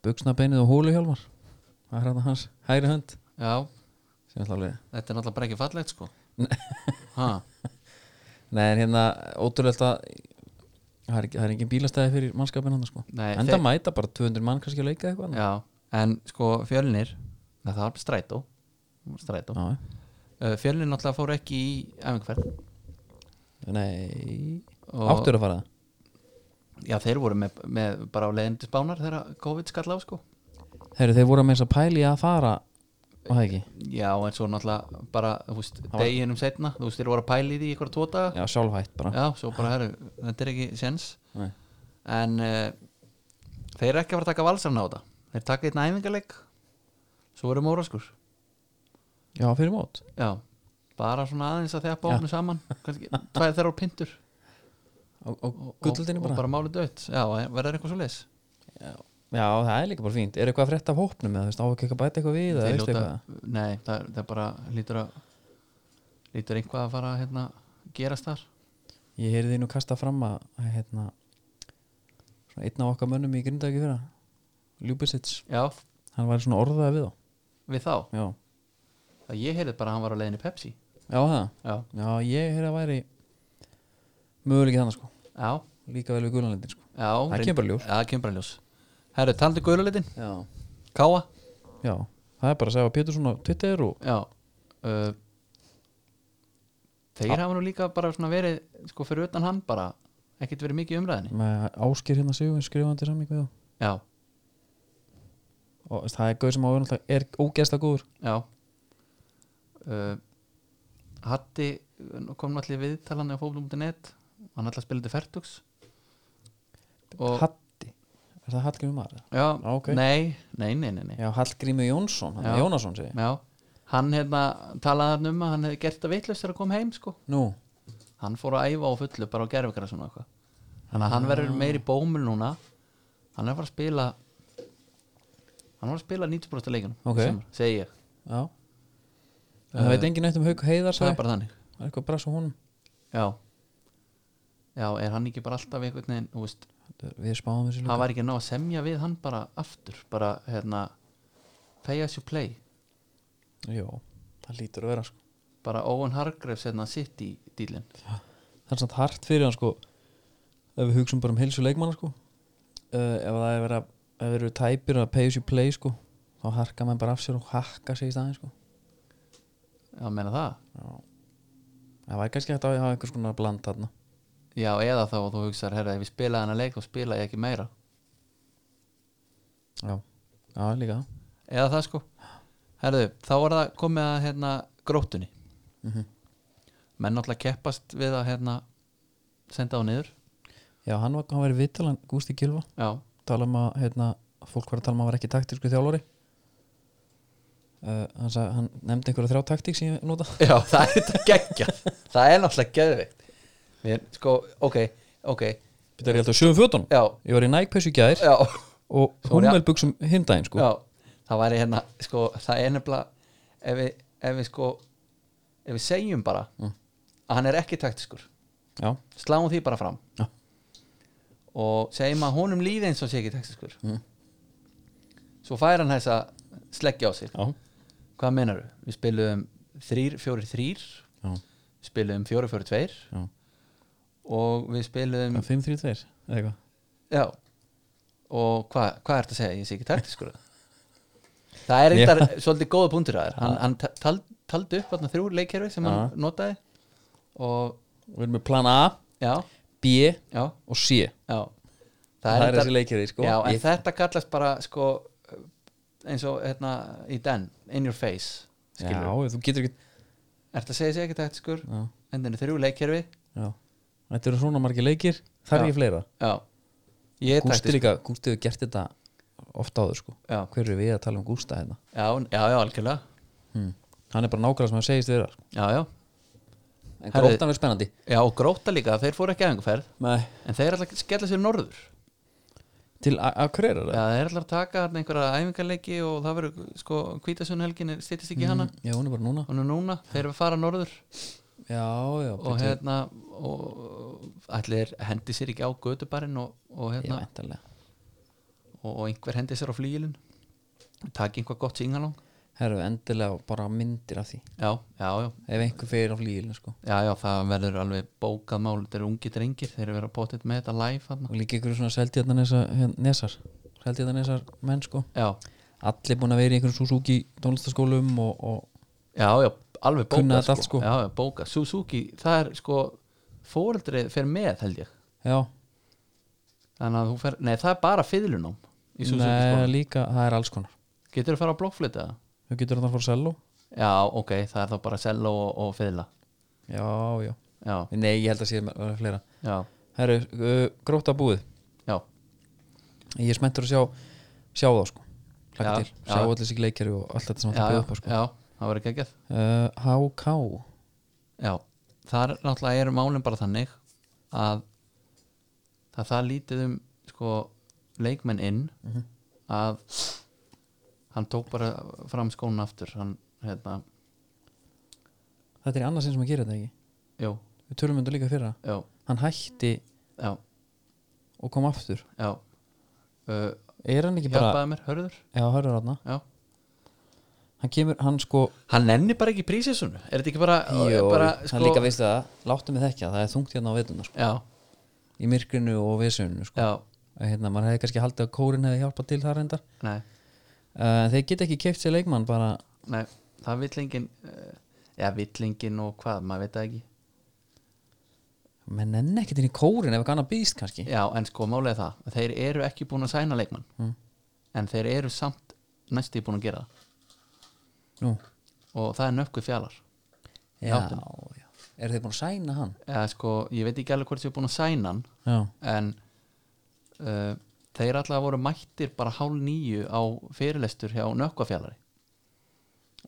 buksna beinið og hóluhjálmar það er hérna hans hægri hönd já, sem er alltaf alveg þetta er náttúrulega bara ekki fallegt sko ha, Nei, en hérna, ótrúlegt að það er, ekki- það er engin bílastæði fyrir mannskapin hann sko. Nei, Enda þeir- mæta bara 200 mann kannski að leika eitthvað annað. já, en sko fjölnir nei, það var strætó strætó, Já, uh, fjölnir náttúrulega fór ekki í æfingferð já. Nei Og- Áttur að fara það já, þeir voru með, með bara á leiðin til spánar þegar COVID skall á sko Herru, þeir voru að með þess að pæli að fara og það ekki já, en svo náttúrulega bara, þú veist, deginum setna þú veist, þeir voru að pæla í því í eitthvað tvo daga Já, sjálfhætt bara já, svo bara, herru, þetta er ekki sens Nei. en uh, þeir eru ekki að fara að taka valsarna á þetta þeir taka einn æfingarleik svo verður móraskur Já, fyrir mót já, bara svona aðeins að þeppa Já. ofnu saman kannski, tvær þeirra á pintur Og, og og, og, gullaldinu og bara. bara máli dött já, verður eitthvað svo leis Já, það er líka bara fínt Er eitthvað að frétta af hópnum eða þú veist, á ekki að bæta eitthvað við eða veistu eitthvað nei, það, er- það er bara lítur að lítur einhvað að fara hérna gerast þar Ég heyrði nú kasta fram að að, hérna, svona einn af okkar mönnum í grindæki fyrir Ljúbisits, já, hann var svona orðað við þá við þá, Já, það ég heyrði bara að hann var á leiðinni í Pepsi já það já, Já, ég heyrði að væri möguleiki þannig sko já, Líka vel við gulanlindin sko já Það kemur bara í ljós. já, það kemur bara í ljós herru, talandi guðlulitin, Já káa Já, það er bara að segja að Pétursson á Twitter og Já uh, Þeir hafa nú líka bara svona verið sko fyrir utan hann bara ekkert verið mikið í umræðinni með áskir hérna sigur skrifandi samning við þá Já, Og veist, það er gauð sem á verðan alltaf er ógeðslega góður já uh, Hatti uh, kom náttúrulega í viðtalan á fólum.net hann ætla að spila þetta fertugs og Hatti Er það Hallgrímur maður? já, Ah, ok. nei, nei, nei, nei, nei. Já, Hallgrímur Jónsson, hann Já. Jónasson segi ég. Já, hann hérna talaði hann um að hann hefði gert það vitlaust þegar að kom heim sko Nú, hann fór að æfa á fullu bara á gerfikara svona eitthvað þannig Ah. að hann verður meiri bómul núna hann er að fara að spila hann var að spila 90% af leikunum Ok. í sumar, segi ég, já En Það veit enginn neitt um Hauk Heiðar það sagði er bara þannig Það er eitthvað brass á honum já já, er hann ekki bara alltaf einhvern veginn þú veist, Þetta er- Við spáðum þessu hann líka var ekki að ná að semja við hann bara aftur, bara hérna pay as you play, Jó, það lítur að vera sko bara Owen Hargreaves hérna sitt í dýlinn Það er samt hart fyrir hann sko Ef við hugsum bara um heilsu leikmanna sko uh, Ef það er verið að Ef við erum tæpir að pay as you play sko Þá harka menn bara af sér og hakka sig í staðin sko já, meina það Já Það væri kannski hægt að hafa einhvers konar bland þarna já, eða þá þú hugsar, herra, ef ég spilaði hann að leik þá spila ég ekki meira Já, já líka það. eða það sko Herðu, þá var það komið að hérna, gróttunni Mhm. menn náttúrulega keppast við að hérna, senda á niður Já, hann var, hann var vitalan Gústi Gilva já, tala um að hérna, fólk var að tala um að hann var ekki taktísku þjálfari uh, hann, sag, hann nefndi einhverja þrjá taktík sem ég nota já það er þetta geggja það er náttúrulega geðveikt Mér, sko, ok, ok Þetta er ég alltaf 7-14 já, Ég var í nægpessu í gær já, og Svo var ég- hummelbuxum hinn daginn sko já það væri hérna, sko, það er nefnilega ef við, ef við sko ef við segjum bara Mm. að hann er ekki taktiskur Já, sláum því bara fram Já. og segjum að honum líði eins og sé ekki textaskur Mm. svo fær hann þess að sleggja á sig já, hvað menar þú? Við spilum 3-4-3 já, spilum 4-4-2 já. og við spilum 5-3-2 eða eitthvað já og hvað hva ertu að segja? Ég sé ekki taktiskur það er eitthvað svolítið góða punktur að þér hann, hann ta- tal, taldi upp þarna þrjú leikkerfi sem hann notaði og Við erum með plan A, já, B já, og C já Það, er reyndar- þessi leikir sko Já, en ég, þetta kallast bara sko eins og hérna í den in your face já, skilur. þú getur ekki Ertu að segja sér ekki taktiskur Já, endinu þrjú leikkerfi já Þetta eru svona margir leikir, þar Já. er ég fleira Já, ég er Gústi taktisk líka, Gústi hefur gert þetta ofta áður sko já. Hver er við að tala um Gústa hérna? Já, já, já, algjörlega hmm. Hann er bara nákvæmlega sem hann segist vera sko. Já, já, En Herri- gróttan er spennandi já og gróta líka þeir fóru ekki aðeinkuferð Nei. en þeir ætla að skella sér norður Til Akureyrar Já, þeir ætla að taka þarna einhverja æfingarleiki og það verður sko hvítasunhelgin stýttist ekki í hana Hmm. Já, hún er bara núna og nú núna, þeir eru að fara norður Já, já, og hérna og allir hendi sér ekki á gödubarinn og, og já hérna endalega og, og einhver hendi sér á flíilin Takk einhvað gott singalong herru, endilega bara myndir af því Já, já, já, ef einhver fyrir á flýilin sko já, já, það verður alveg bókað mál Þetta eru ungi drengir, þeir eru verið að potið með þetta live hann og líka ykkur svona seldjarnanesa hérna, nesar seldjarnanesar menn sko Já, allir búin að vera í einhverjum Suzuki tónlistaskólum og, og já, já, alveg Kunna bókað þetta allt, sko. Já, já, bókað, Suzuki, það er sko fóreldrið fer með held ég já, Þannig að þú fer, nei það er bara fiðlunum Í Suzuki neða sko líka, það er alls konar Getur þú að fara að blokkflita það? þú getur þarna að fara selo Já, ok, það er þá bara selló og, og fiðla já, já, Já, nei, ég held að sé með- með fleira já, herru, uh, gróta búið já, ég er spenntur að sjá, sjá þá sko hlaka Já, til, já. sjá allir þessi leikjari og allt þetta sem já, það já, bjóð upp á sko já, það verður geggjað uh, HK Já, það er náttúrulega er málum bara þannig að það, það lítið um sko, leikmenn inn Mhm. að hann tók bara fram skónu aftur hann, hérna, þetta er annars einn sem að gera þetta ekki jú, við tölum undir líka fyrra, jú, hann hætti já, og kom aftur já uh, er hann ekki bara, hjálpaði mér, hörður já, hörru ráðna já. hann kemur, hann sko hann nenni bara ekki prísisunu er þetta ekki bara, Jó, bara sko- hann líka veistu það láttu mig þekkja, það er þungt hérna á veituna sko. já, í myrkrinu og vesuninu sko. já, Að hérna, maður hefði kannski haldið að kórin hefði hjálpað til þar reyndar nei, uh, þeir geta ekki keft sér leikmann bara nei það villingin uh, já, villingin og hvað, maður veit það ekki menn enn ekkert inn í kórin ef ekki annað býðst kannski Já, en sko málega það Þeir eru ekki búin að sæna leikmann Mm. En þeir eru samt næstu búin að gera það Nú, Og það er nökkuð fjalar já, já. eru þeir búin að sæna hann Eða sko, ég veit ekki alveg hvort þeir búin að sæna hann já, En uh, Þeir allavega voru mættir bara hálf nýju Á fyrirlestur hjá nökkufjalari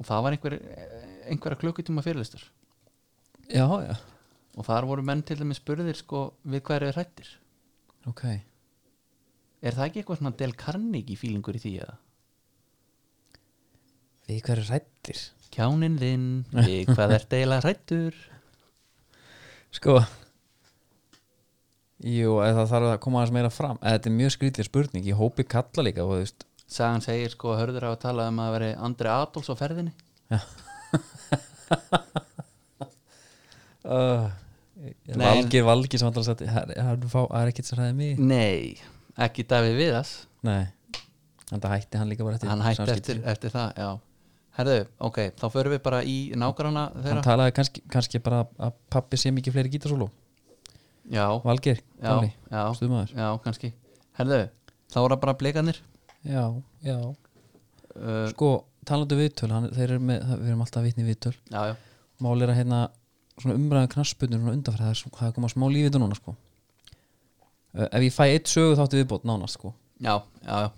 Og það var einhver eh, Einhverja klukkutíma fyrirlestur já, já. Og þar voru menn til dæmis spurðir sko Við hverju er hrættir ok Er það ekki eitthvað svona Del Carnegie fílingur í því eða? við hverju rættir Kjáninn þinn, við hvað er deila hrættur sko jú, eða það þarf að koma aðeins meira fram eða þetta er mjög skrýtlega spurning, ég hópi kalla líka og þú veist Sagan segir sko að hörður á að tala um að veri Andri Adolfs á ferðinni uh, Nei. Valgir, Valgir sem alltaf sætti Það er- það er ekkert sem hræði mig Nei, ekki Davíð Viðas Nei, þannig hætti hann líka bara eftir Hann hætti samskipti. eftir, eftir það, já Herðu, ok, þá förum við bara í nágrana Hann þeirra talaði kannski, kannski bara að pappi sé mikið fleiri gítarsólu Já, Valgir, já, gamli, já, stuðmaður já, kannski Herðu, þá voru það bara blikanir Já, já uh, Sko, talandi um viðtöl, hann, þeir eru með það- Við erum alltaf vitni í viðtöl Já, já, Mál er að hérna, svona umræðan knassbundur Svona undanfæra, það er, svo- það er koma smá lífið núna sko uh, Ef ég fæ eitt sögu þátti viðbót nánast sko já, já, já,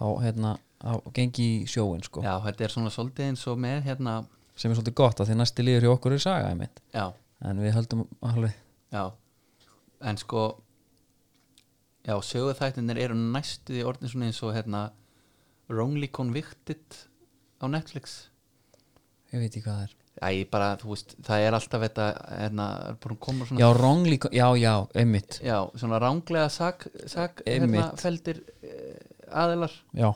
Þá hérna, þá gengi í sjóin sko já Þetta er svona svolítið eins og með hérna Sem er svolítið gott að því næsti líður hjá okkur er saga einmitt Já, En við höldum alveg já En sko Já, söguþættinir eru næstu í orðin svona eins og hérna Wrongly Convicted á Netflix Ég veit ekki hvað það er Æ, bara, þú veist, það er alltaf þetta, hérna, er búin að koma svona Já, wrongly, já, já, einmitt já, svona ránglega sak, sak hérna, Einmitt. feldir eh, aðilar Já,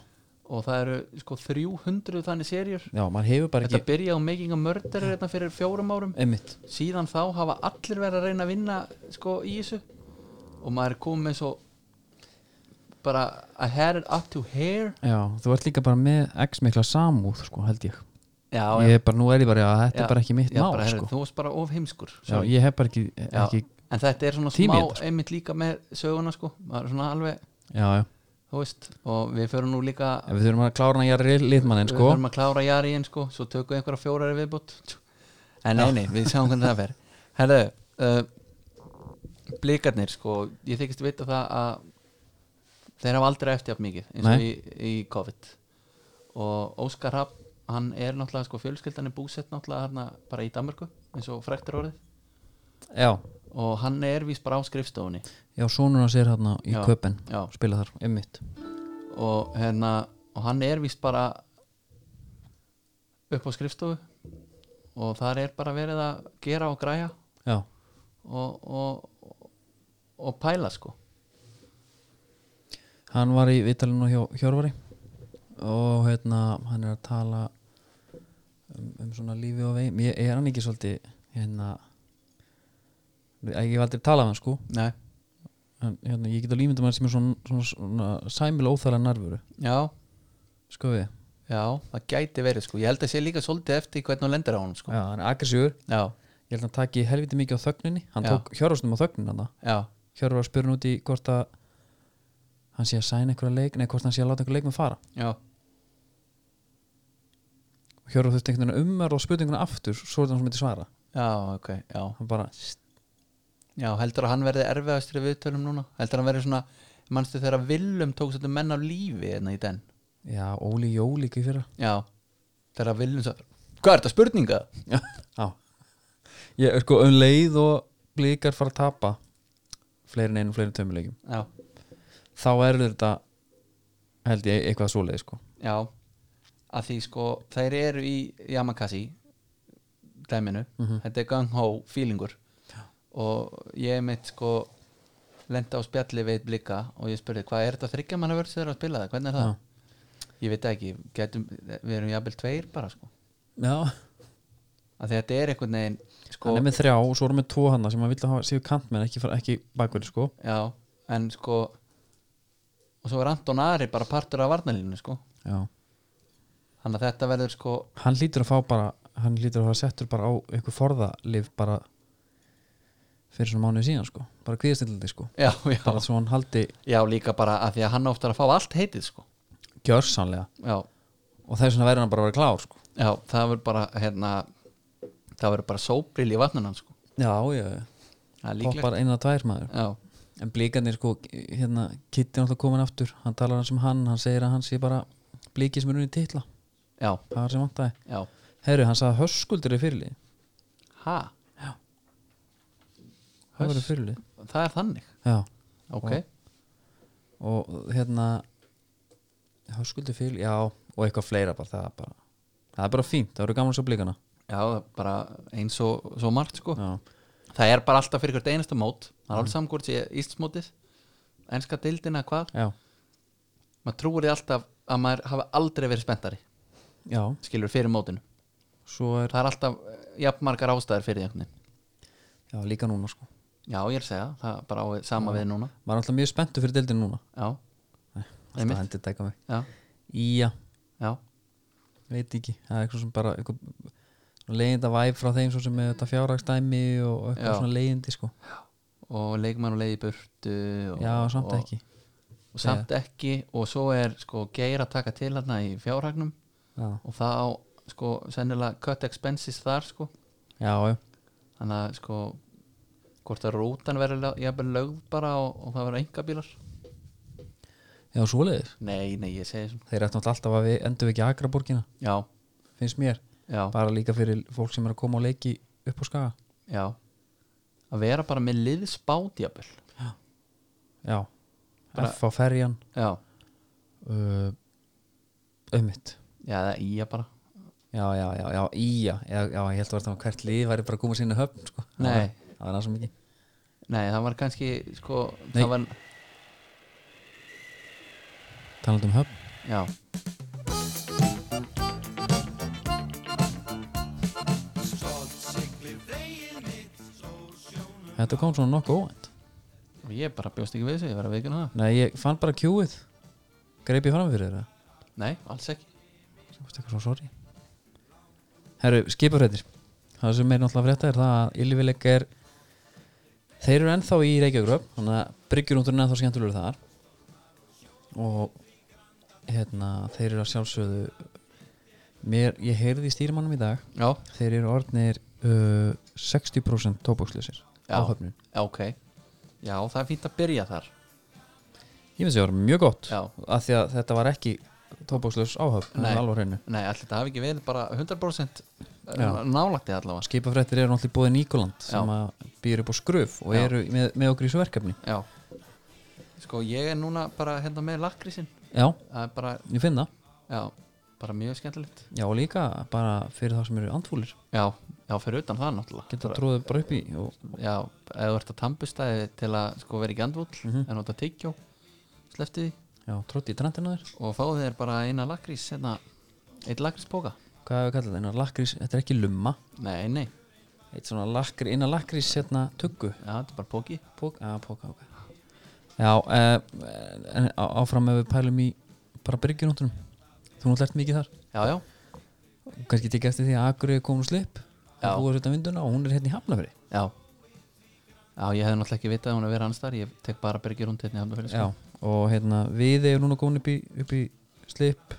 og það eru, sko, 300 þannig serjur. já, maður hefur bara Þetta ekki byrja á Making a Murder hérna fyrir fjórum árum. Einmitt, Síðan þá hafa allir verið að reyna að vinna, sko, í þessu og maður er komið með svo bara a hair up to hair. já, þú ert líka bara með x mikla samúð, sko, held ég Já, Ég er bara, nú er ég bara, já, þetta Já, er bara ekki mitt já, mál, bara, heyrðu, sko Þú varst bara of heimskur. Já, ég hef bara ekki, Já, ekki en þetta er svona Tími í smá þetta, sko. einmitt líka með söguna sko maður er svona alveg, Já, já, þú veist og við förum nú líka en við þurfum að klára hann Jari litmannin, við sko förum að klára jariðin sko svo tökum við einhverja fjórari viðbútt en nei, nei, við sjáum hvernig það fer herðu uh, blikarnir sko, ég þykist vita það að þeir hafa aldrei eftir jafn mikið eins og Nei. í, í COVID og Óskar Rapp hann er náttúrulega sko fjölskyldan er búsett náttúrulega hérna bara í Danmarku eins og frektur orðið Já, og hann er vís bara á skrifstofunni já, sonur hans er hérna í Já, köpen já. Spila þar, einmitt og hérna og hann er vist bara upp á skrifstofu og þar er bara verið að gera og græja Já, og, og, og pæla sko hann var í vitalinu hjá Hjörvari og hérna hann er að tala um, um svona lífi og veginn ég er hann ekki svolítið hérna ég hef aldrei talað um hann sko Nei, en, hérna, ég get að límynda maður sem er svona, svona, svona sæmil óþæra narfuru já, sko við já, það gæti verið sko Ég held að sé líka svolítið eftir hvernig hún lendir á hún sko já, hann er aggressífur Já, ég held að hann taki helviti mikið á þögninni hann Já. tók Hjörvarsnum á þögninna hann já, Hjörvar spurði hann út í hvort að hann sé að sæna einhverja leik nei, hvort hann sé að láta einhverja leik með fara já, og Hjörvar þurfti einhvern veginn umar og spurði einhvern aftur svo er það hann sem myndi svara já, ok, já hann bara, Já, heldur að hann verði erfiðastri viðtölum núna Heldur að hann verði svona, manstu þegar Willum tók svolítið menn af lífi enna í den já, Óli Jó líka í fyrra Já, þegar Willum svo Hvað er þetta, spurninga? já ég er sko um leið og blíkar fara að tapa fleiri en einu og fleiri tömuleikum Já, þá er þetta held ég eitthvað svoleið sko já að því sko, þeir eru í Yamakasi dæminu, þetta er Gang Ho feelingur og ég mitt sko lenda á spjalli við eitt blika og ég spurði hvað er þetta þryggja manna vörð sem þeir eru að spila það, hvernig er það? Ég veit það ekki, getum, við erum jafnvel tveir bara sko, já, að því þetta er einhvern veginn sko, hann er með þrjá og svo er hann með tvo hana sem hann vilja hafa séu kantmenn ekki, fara- ekki bakverði sko já, en sko og svo er Anton Ari bara partur af varnalínu sko, já þannig að þetta verður sko hann lítur að fá bara hann lítur að fá settur bara á einhver forðalif bara fyrir svona mánuði síðan sko bara kvíðastillandi sko já, já, bara svo hann haldi já, líka bara að því að hann áttar að fá allt heitið sko, gjörsanlega já og þess vegna verður hann bara að vera klár sko Já, það verður bara hérna, það verður bara sóbril í vatnunan sko. já, já, já það er líklegt poppar eina að tvær maður Já, en blíkanir sko hérna Kitty er alltaf komin aftur hann talar hans um hann hann segir að hann sé bara blíki sem er unni titla já, það var sem vantaði já, herru, hann sagði að höskuldur er fyrirlið ha, það verður fyrirlið það er þannig já Ok, og hérna Höskuldur Fíl, já og eitthvað fleira bara, það er bara það er bara fínt, það eru gaman svo blíkana já, það er bara eins og svo margt sko já, Það er bara alltaf fyrir hvert einasta mót Það Mhm. er alveg samkvæmt sé Íslandsmótið Enska dildina hvað já, Maður trúir því alltaf að maður hafa aldrei verið spenntari já Skilur fyrir mótinu svo er, Það er alltaf eh, jafnmargar ástæður fyrir því einhvern veginn. já líka núna sko Já, ég er að segja, það er bara á, sama við núna maður er alltaf mjög spenntu fyrir deildin núna Já, Nei, Einmitt. alltaf hendur tæka mig já, já, já, veit ekki, það er eitthvað sem bara eitthvað leiðinda væf frá þeim svo sem með þetta fjárhagsdæmi og eitthvað Já. svona leiðindi sko og leikmann og leið í burtu og, já, samt og, ekki og samt ekki og svo er sko geir að taka til hérna í fjárhagnum já, og það á sko sennilega cut expenses þar sko já, já, þannig að sko hvort að rútan verður lög- jafnvel lögð bara og, og það verður enga bílar já svoleiðis nei, nei, ég segi svona þeir ættu náttúrulega alltaf að við endur ekki agraborgina já, finnst mér já, bara líka fyrir fólk sem er að koma á leiki upp á skaga já að vera bara með liðsbát jafnvel já, Bara- F á ferjan já, uh, ummitt já, það er í að bara já, já, já, já, íja já, já, ég held að vera hvert lið væri bara að koma sinni höfn sko. Það Nei. var- það var náttúrulega mikið nei, það var kannski sko Nei. það var, talandi um höfn já þetta kom svona nokkuð óvænt og ég bara bjóst ekki við þessu, ég verður að veikuna nei, ég fann bara kjúið greip ég fram fyrir þeirra það nei, alls ekki Þú veist eitthvað svo sorry herru, skipafrættir það sem er náttúrulega frétta er það að Ylvileik er þeir eru ennþá í Reykjavíkuröf þannig að bryggjurúndurinn er ennþá skemmtulegur þar og hérna, þeir eru að sjálfsögðu mér, ég heyrði í stýrimannum í dag já, þeir eru orðnir uh, 60% tóbakslösir Já. á höfnun Já, ok Já, það er fínt að byrja þar ég finnst það var mjög gott Já. af því að þetta var ekki tóbakslös á höfn Nei. það er alveg á hreinu Nei, allir þetta hafi ekki verið bara 100% Já. nálætti allavega skipafrættir eru náttúrulega búið Já. Nikoland sem að býr upp á skröf og Já. eru með, með okkur í þessu verkefni Já Sko, ég er núna bara hérna með lakrísinn já, Það er bara, ég finn það já, bara mjög skemmtilegt já og líka bara fyrir það sem eru andfúlir Já, já, fyrir utan það náttúrulega geta tróðið bara upp í og, Já, Mhm. ef þú ert að tampustæði til að sko vera ekki andvúll mm -hmm. en nota tyggjó, slefti því Já, trótti í trendinu þér og fáðu þér bara eina lakrís hérna, eitt lakríspoka Hvað hefur kallað það? Einar lakrís, þetta er ekki lumma nei, nei, Eitt svona lakri, einar lakrís hérna tuggu já, þetta er bara póki Pók, að póka, ok Já, eh, en á- áfram ef við pælum í bara byrgjunóttunum Þú náttúrulega ert mikið þar já, já, Kannski tekið eftir því að Akur er komin úr slip Já. Það búið að setja vinduna og hún er hérna í hafnafri já já, ég hefði náttúrulega ekki vitað að hún er verið hans þar ég tek bara Birgir Rúnd hérna í Hafnarfjörði Já, sko. og hérna við erum núna komin upp í, upp í slip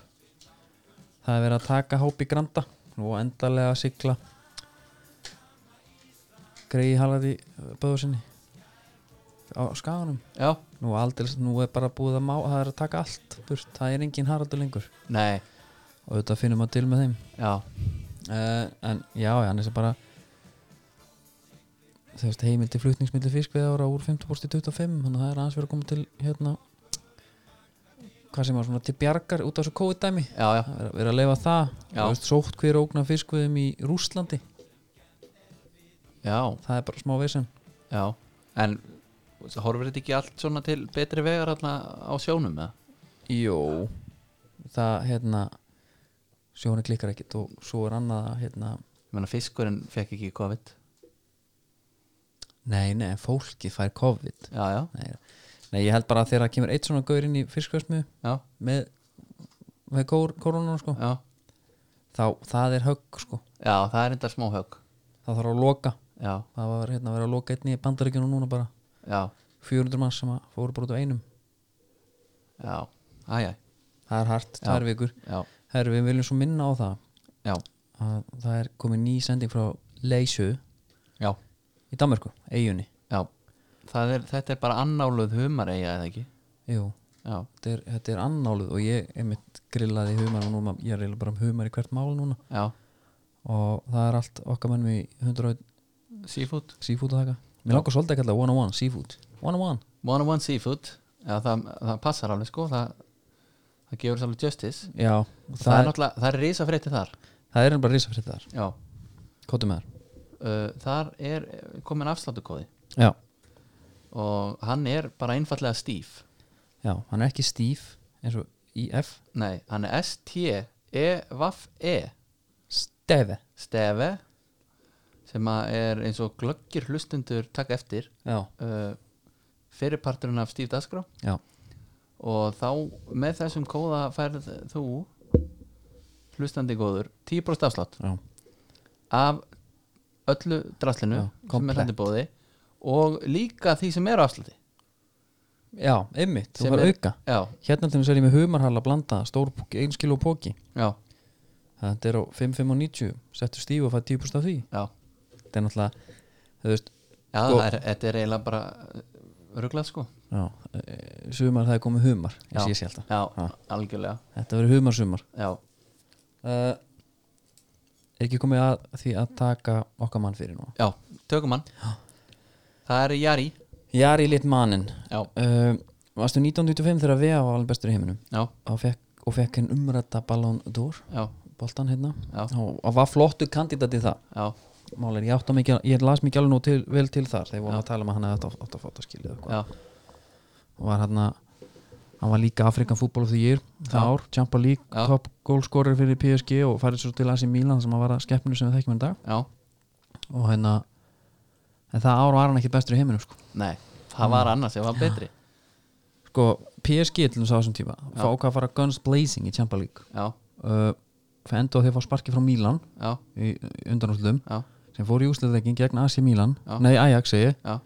Það er verið að taka hápi granda og endalega að sigla greiði halati böðu eh, sinni á skaganum já, nú, aldils, nú er bara búið að má það er að taka allt burt, það er engin haraldur lengur nei, og þetta finnum að til með þeim já, uh, en já, já, annars er bara þú veist, heimildi flutningsmildi fiskveða ára úr 50% í 25 þannig að það er aðeins verið að koma til hérna hvað sem var svona til bjargar út af þessu COVID-dæmi já, já það er að vera að leifa það Já. Þú veist, sótt hver ógna fiskveðum í Rússlandi já, það er bara smá vesen já, en horfir þetta ekki allt svona til betri vegar hérna á sjónum eða? Jó það hérna sjónu klikkar ekkit og svo er annað að, hérna, ég meina fiskurinn fekk ekki COVID nei, nei, fólkið fær COVID já, já, nei, nei, ég held bara að þegar það kemur eitt svona gaur inn í fiskveðsmiðu já, með, með kór, kórónan sko já þá það er högg sko já, það er enda smá högg það þarf að loka já, það var hérna að vera að loka einni í bandaríkjunum núna bara já, 400 mann sem að fóru bara út á einum já, æjæ það er hart, tvær vikur já, Herru, við viljum svo minna á það já, að það er komið ný sending frá Leysu í já, Danmarku, eigunni já Það er, þetta er bara annáluð humar eiga eða ekki Jú, já, þetta er, þetta er annáluð og ég einmitt grillaði humar og núna, ég er eiginlega bara um humar í hvert mál núna já, og það er allt okkar mennum í 100 seafood seafood að taka Mér langar svolítið að kalla það one on one seafood One on one, one on one seafood já, það, það passar alveg sko það, það gefur þess alveg justice það, já er náttúrulega, það er risafrétti þar Það er bara risafrétt þar, já, kóttum með uh, þar er eh, komin afsláttukóði þar já. og hann er bara einfallega stíf já, hann er ekki stíf eins og IF nei, hann er E S-T-E-V-E Stefi stefi sem að er eins og glöggir hlustundur taka eftir Já, uh, fyrirparturinn af Steve Dasgrá já, og þá með þessum kóða færð þú hlustandi góður 10% afslátt já, af öllu draslinu Já, sem komplett. er hendur bóði og líka því sem er á afslátti já einmitt, þú Sem fara er- auka já, Hérna til þess er ég með humarhalla blanda stór póki, ein kilo póki já, Þetta er á 5,590 settur stíf og fæði 10% af því já, Þetta er náttúrulega, þú veist já Sko- það er, þetta er eiginlega bara rugglað sko já, e, sumar það er komið humar Já. eins og ég sé alltaf já, Já. algjörlega Þetta verður humarsumar já, uh, Er ekki komið að því að taka okkar mann fyrir núna já, tökum hann það er Jari Jari lit mannin já, uh, Varstu 1925 þegar VA var alveg bestur í heiminum já, og fekk, og fekk henn umrætta Ballon d'Or já, boltan hérna Já. og, og var flottu kandidati í það já, Mál er, ég, átta mikið, ég las mikið alveg nú til, vel til þar þegar vorum að tala um að hann hefði átt að- átt að fóta skilja og já, var hann hann var líka Afrikan fútbol of the year það ár, Champa League, Já. top goalscorer fyrir PSG og farið svo til AC Milan sem að vara skeppinu sem við þekkjum enn dag já og hérna en það ár var hann ekki bestur í heiminum sko, Nei, það var annars, ég var betri sko PSG til þess að þessum tíma fá hvað að fara Guns Blazing í Champa League Já, uh, enda á því að fá sparki frá Milan já, í undanúslum já, sem fór í úsliðleikin gegn AC Milan Já. nei Ajax segi ég. já,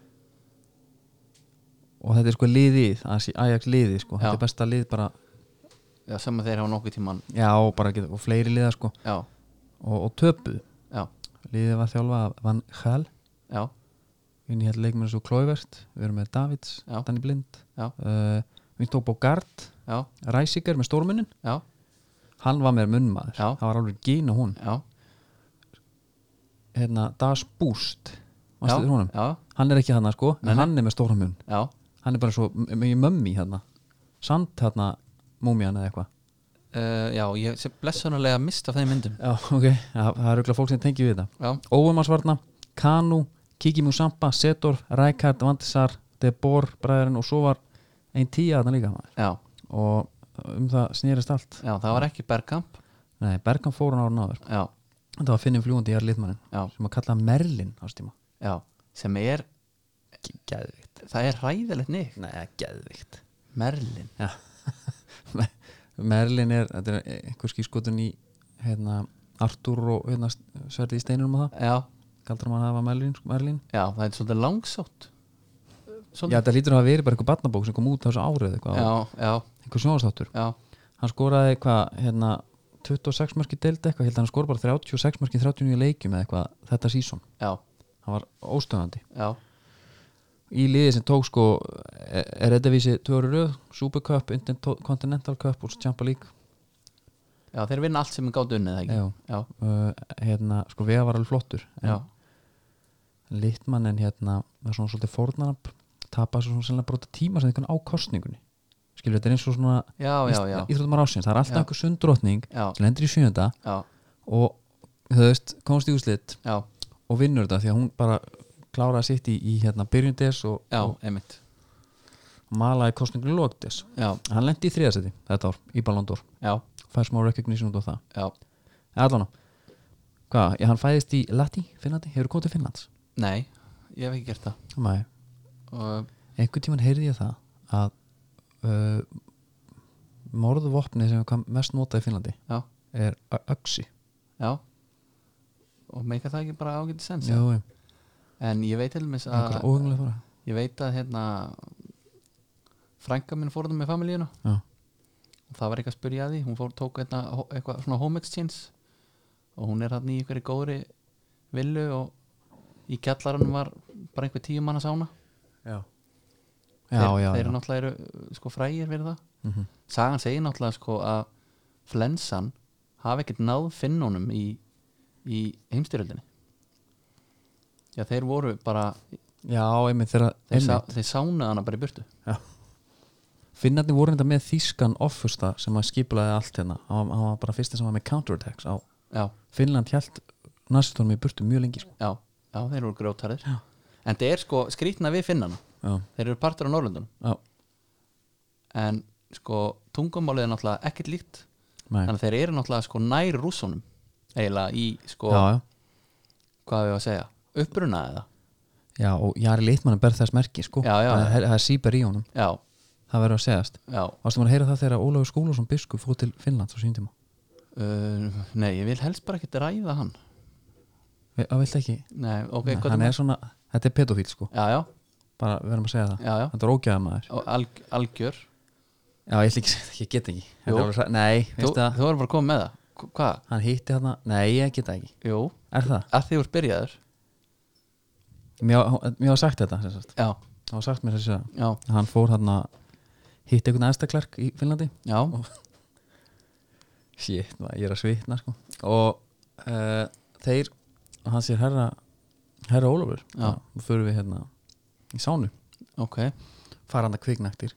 og þetta er sko liðið AC, Ajax liðið sko, Já. þetta er besta lið bara já sem að þeir hafa nokkuð tíman já, og bara geta, og fleiri liða sko Já, og, og töpuð, já, liðið var þjálfa af Van Gaal, já, inn í hérna leikmenn svo Klóivert, við erum með Davids Já. Danny Blind Já. uh, Vintó Bogart, já, Ræsiker með stórmunnin, já, hann var með munnmaður Já. það var alveg gín og hún já hérna, Das Boost, Já, mannstu þér honum Já, hann er ekki hann sko, Nei, en nei. hann er með stóran munn já, hann er bara svo, mjög mömmi hérna sand hérna, múmían eða eitthvað uh, já, ég sé blessunulega mist af þeim myndum Já, ok, það, það er auðvitað fólk sem tengi við þetta Já, Óumarsvarna, Kanu, Kiki Musampa, Setorf, Rækard, Vandisar Debor, bræðurinn og svo var einn tíja þarna líka maður já, og um það snerist allt já, það var ekki Bergkamp Nei, Bergan fór hann ára náður já, Þetta var Finnum fljúandi í Arlitmannin já, sem að kalla Merlin á stíma já, sem er Geðvikt það er hræðilegt nýtt Nei, geðvikt Merlin, Merlin er, þetta er einhver skýrskotun í hérna Artur og hérna sverði í steinunum og það já, Kaldar hann að hafa Merlin, sko, Merlin. já, það er svolítið langsótt Já, þetta lítur að hafa verið bara einhver barnabók sem kom út á þessu árið eða eitthvað, já, já, einhver sjónastáttur já, Hann skoraði eitthvað, hérna 26 mörki deild eitthvað, hérna hann skor bara 36 mörki 39 leikjum eða eitthvað þetta sísón, já, hann var óstöðandi já, í liði sem tók sko er þetta vísi tvöru röð Super Cup, Intercontinental Cup og svo Champions League já, þeir vinna allt sem er gátt unnið það ekki, Já, já, uh, hérna, sko Vega var alveg flottur já, en litmannin hérna var svona svolítið fórnarnab tapaði svo svona sérlega bara út af tíma sem einhvern á kostningunni skilur þetta er eins og svona já, já, já, íþróttumar ásins, það er alltaf Já. einhver sundrótning já, sem lendir í sjönda já, og þú veist, komst í úslit já, og vinnur þetta því að hún bara kláraði sitt í, í hérna byrjundes og, já, og einmitt, malaði kostningunni lóktes já, hann lendi í þriðasæti þetta ár, í Ballandur já, fær smá recognition út á það já, allan á hvað, ég- hann fæðist í Lati, Finnlandi, hefur komið til Finnlands nei, ég hef ekki gert það Nei. og, einhvern tímann heyrði ég það að uh, morðvopni sem er hvað mest notað í Finnlandi já, er öksi já og meika það ekki bara ágæti sens já, já, en ég veit til dæmis að einhverja óhengilega fara ég veit að hérna frænka minn fór það með familíuna já, og það var eitthvað að spyrja að því hún fór, tók hérna, ho- eitthvað svona home exchange og hún er hann í einhverju góðri villu og í kjallaranum var bara einhver tíu manna sána já, þeir, já, þeir já. eru náttúrulega eru, uh, sko, frægir fyrir það Mhm. sagan segir náttúrulega sko, að flensan hafi ekkert náð finnunum í, í heimstyrjöldinni já þeir voru bara já, einmitt þegar þeir, sá, einmitt. þeir sánaði hana bara í burtu Finnarnir voru þetta með þýskan offusta sem að skiplaði allt hérna hann hann var bara fyrsti sem var með counterattacks á já, Finnland hjælt nasistónum í burtu mjög lengi sko. já, já þeir eru grótarðir en þeir er sko skrýtna við finnana já, þeir eru partur á Norrlundunum já, en sko tungumálið er náttúrulega ekkert líkt nei þannig að þeir eru náttúrulega sko nær rússunum eiginlega í sko, já, já. hvað við að segja uppruna eða, já, og Jari Leitmann ber þess merki sko. Já, já. það, er- það er síper í honum, já, það verður að segjast já Varstu maður að heyra það þegar Ólafur Skúlason biskup fór til Finnland á sínum tíma uh, nei, ég vil helst bara ekkert ræða hann Vi- að vilt ekki, nei, ok, Nei, hvað hann er svona þetta er pedofíl sko, já, já, bara verðum að segja það já, já, þetta er ógæða maður og alg, algjör já, ég ætla ekki að segja það, ég get ekki Þetta Jú. er alveg hræ- nei, þú, veistu það, þú erum bara að koma með það Hva- hvað, hann hitti hann nei, ég get það ekki, jú, er það að því voru byrjaður mér mér var sagt þetta, sem sagt. já, það var sagt mér þess að já, hann fór hann hitti einhvern aðstaklark í Finnlandi já, Shit, maður, ég er að svitna sko. og uh, þeir og hann sér herra herra Ólafur Já. og förum við hérna í sánu ok fara hann að kviknaktir